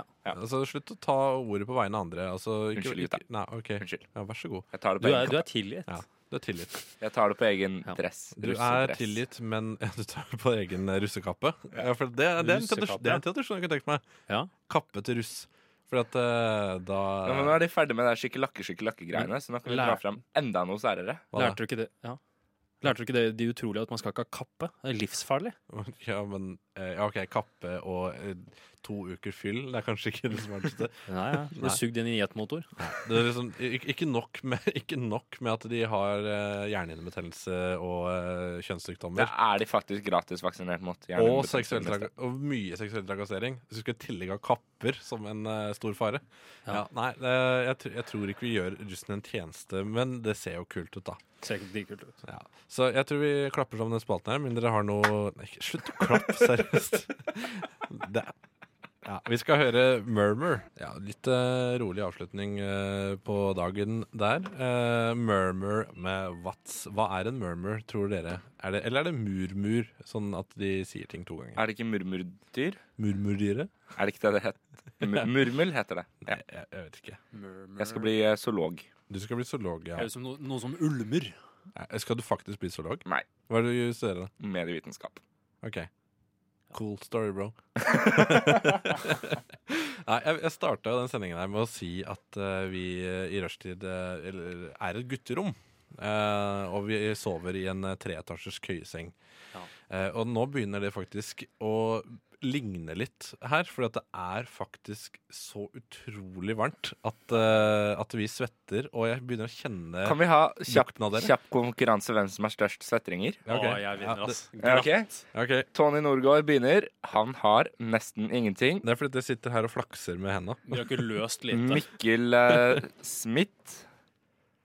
D: Ja. Altså, slutt å ta ordet på vegne av andre. Altså, ikke,
B: Unnskyld, gutta.
D: ikke, nei, ok. Ja, vær så god.
B: Jeg tar det
A: Du
B: på
A: er, du
B: egen
A: er tilgitt.
D: Ja, du er tilgitt.
B: Jeg tar det på egen dress.
D: Du er
B: russedress.
D: tilgitt, men ja, du tar på egen russekappe. Ja, for det, det, er en tradisjon,
B: Russekappe,
D: det er en tradisjon jeg kunne tenkt meg. Kappe til russ. For at eh, da
B: Ja, men nå er de ferdig med det
D: Mm.
B: skikkelakke-skikkelakke-greiene, så nå kan vi dra
A: Lær-
B: fram enda noe særere.
A: Lærte du ikke det? Ja. Lærte du ikke det de utrolige at man skal ikke ha kappe? Det er livsfarlig.
D: Ja, men eh, ja, OK, kappe og eh, to uker fyll. Det er kanskje ikke det smarteste.
A: Nei, ja. Du blir sugd inn i jetmotor.
D: Det er liksom, ikke, ikke, nok med, ikke nok med at de har eh, hjernehinnebetennelse og eh,
B: Det
D: kjønnssykdommer.
B: er de faktisk gratis vaksinert mot.
D: Og,
B: hjernehinnebetennelse
D: seksuell,
B: neste.
D: traka- og mye seksuell trakassering. Hvis du skal i tillegg ha kapper som en eh, stor fare.
A: Ja.
D: Ja, nei, det- jeg, tr- jeg tror ikke vi gjør russen en tjeneste, men det ser jo kult ut, da.
A: Ser ikke dritkult ut.
D: Ja. Så jeg tror vi klapper som den spalten her, men dere har noe Nei, ikke- slutt å klappe, seriøst. Det. Ja, vi skal høre 'Murmur'. Ja, litt eh, rolig avslutning eh, på dagen der. Eh, 'Murmur' med Watts. Hva er en murmur, tror dere? Er det, eller er det murmur, sånn at de sier ting to ganger?
B: Er det ikke murmurdyr?
D: Murmurdyret?
B: Er det ikke det det het? Mur- Murmel heter det. Ja.
D: Jeg, jeg vet ikke.
B: Jeg skal bli eh, zoolog.
D: Du skal bli zoolog, ja.
A: Høres ut som no, noe som ulmer.
D: Nei, Skal du faktisk bli zoolog?
B: Nei.
D: Hva er det du studerer, da?
B: Medievitenskap.
D: Ok. Cool story, bro. Nei, jeg, jeg starta jo den sendingen her med å si at eh, vi eh, i rushtid eh, eller, er et gutterom. Eh, og vi sover i en eh, treetasjers køyeseng. Eh, og nå begynner det faktisk å ligne litt her, for det er faktisk så utrolig varmt at, eh, at vi svetter, og jeg begynner å kjenne
B: Kan vi ha kjapp,
D: Eh, lukten av dere.
B: kjapp konkurranse hvem som har størst svettringer?
D: Ja, ok. Å, jeg vinner,
B: Ja,
D: ass.
B: det- Ja, ok.
D: Ok.
B: Tony Norgård begynner. Han har nesten ingenting.
D: Det er fordi jeg sitter her og flakser med henda.
A: Vi har ikke løst lite.
B: Mikkel eh, Smith.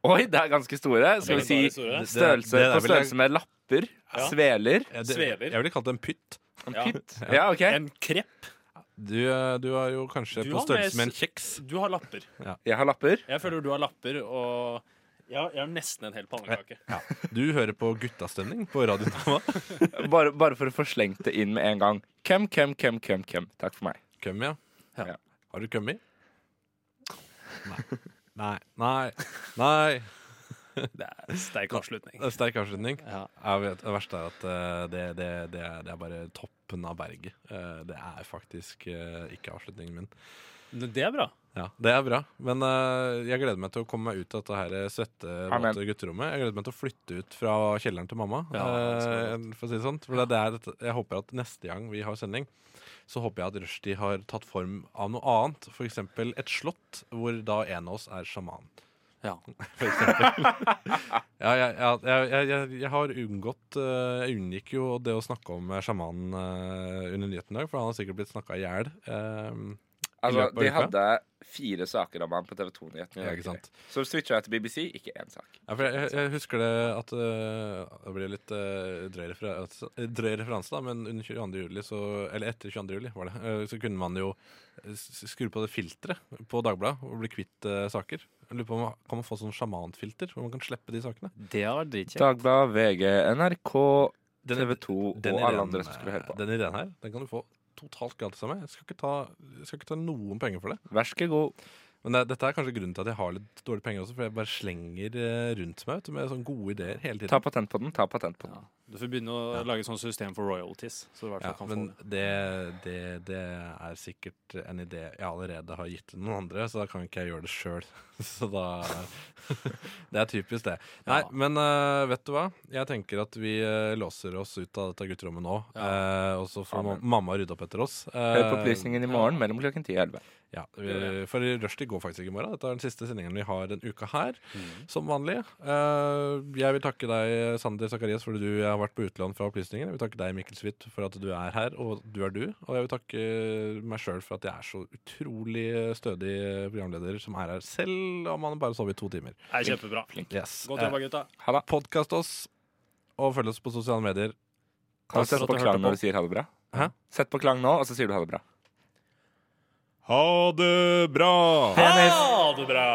B: Oi, det er ganske store. Skal vi
D: Det er
B: si
D: veldig store. Det-
B: størrelse
D: det er
B: på
D: vel-
B: størrelse med lapper?
D: Ja.
B: Sveler?
D: Ja, det- Sveler. jeg ville kalt det en pytt.
B: En
A: Ja.
B: pytt? Ja, ok.
A: En krepp.
D: Du, eh, du er jo kanskje
A: Du
D: på
A: har
D: størrelse med en
A: mest-
D: kjeks.
A: Du har lapper.
D: Ja.
B: Jeg har lapper.
A: Jeg føler du har lapper, og jeg har, jeg har nesten en hel pannekake.
D: Ja. Du hører på Guttastemning på Radio Nova.
B: Bare, bare for å få slengt det inn med en gang. Hvem, hvem, hvem, hvem, hvem? Takk for meg.
D: Køm, ja.
B: Ja.
D: Har du kømmi? Nei. Nei. Nei. Nei.
A: Det er sterk avslutning.
D: Det er sterk avslutning. Jeg vet, det verste er at eh, det, det, det, er, det er bare toppen av berget. Eh, det er faktisk eh, ikke avslutningen min.
A: Det er bra.
D: Ja, det er bra. Men eh, jeg gleder meg til å komme meg ut av dette her svette,
A: Amen.
D: våte gutterommet. Jeg gleder meg til å flytte ut fra kjelleren til mamma.
A: Ja, det skal
D: eh, for å si det sånn. For det er dette- jeg håper at neste gang vi har sending, så håper jeg at rushtid har tatt form av noe annet. F.eks. et slott hvor da en av oss er sjaman.
A: Ja.
D: For eksempel. ja, jeg, ja, jeg, jeg, jeg, jeg har unngått eh, Jeg unngikk jo det å snakke om eh, sjamanen eh, under nyheten i dag, for han har sikkert blitt snakka i hjel. eh,
B: Altså, de hadde fire saker om han på TV 2-nyhetene.
D: Ja, ikke sant.
B: Så switcha jeg til BBC, ikke én sak.
D: Ja, for jeg, jeg, jeg husker det at øh, Det blir litt øh, drøy, referanse, drøy referanse, da, men under 22. Juli, så, eller etter 22. juli, var det, øh, så kunne man jo eh, s- skru på det filteret på Dagbladet og bli kvitt øh, saker. Jeg lurer på om man- Kan man få sånn sjamanfilter hvor man kan slippe de sakene?
A: Det har vært dritkjekt.
B: Dagbladet, VG, NRK,
D: Den-
B: TV 2
D: den
B: og alle
D: ideen,
B: andre som skulle høre på.
D: Den ideen her den kan du få totalt gratis av meg. Jeg skal ikke ta, jeg skal ikke ta noen penger for det.
B: Vær så god.
D: Men det, dette er kanskje grunnen til at jeg har litt dårlige penger også, for jeg bare slenger eh, rundt meg vet du, med sånne gode ideer hele tiden.
B: Ta patent på den. ta patent på
A: den. Du får begynne å lage sånn system for royalties. Så du i hvert
D: Ja,
A: fall kan få
D: men
A: det.
D: det, det, det er sikkert en idé jeg allerede har gitt til noen andre, så da kan ikke jeg gjøre det sjøl. Så da Det er typisk, det. Nei, men eh, vet du hva? Jeg tenker at vi eh, låser oss ut av dette gutterommet nå, eh, og så får ma- mamma rydde opp etter oss.
B: Hør på
D: Eh,
B: opplysningen i morgen mellom klokken 10 og 11.
D: ja, vi, for Rushdie går faktisk ikke i morgen. Dette er den siste sendingen vi har denne uka her, som vanlig. Eh, jeg vil takke deg, Sander Sakarias, fordi du har vært på utlån fra Opplysningen. Jeg vil takke deg, Mikkel Svitt, for at du er her, og du er du. Og jeg vil takke meg sjøl for at jeg er så utrolig stødig programleder som er her, selv om han bare sover i to timer.
A: Det er kjempebra.
D: Yes.
A: Godt jobba, gutta.
D: Ha det. Podkast oss, og følg oss på sosiale medier.
B: Kan du sette på klang når du sier ha det bra?
D: Hæ?
B: Sett på klang nå, og så sier du ha det bra.
D: Ha det bra!
A: Ha det bra!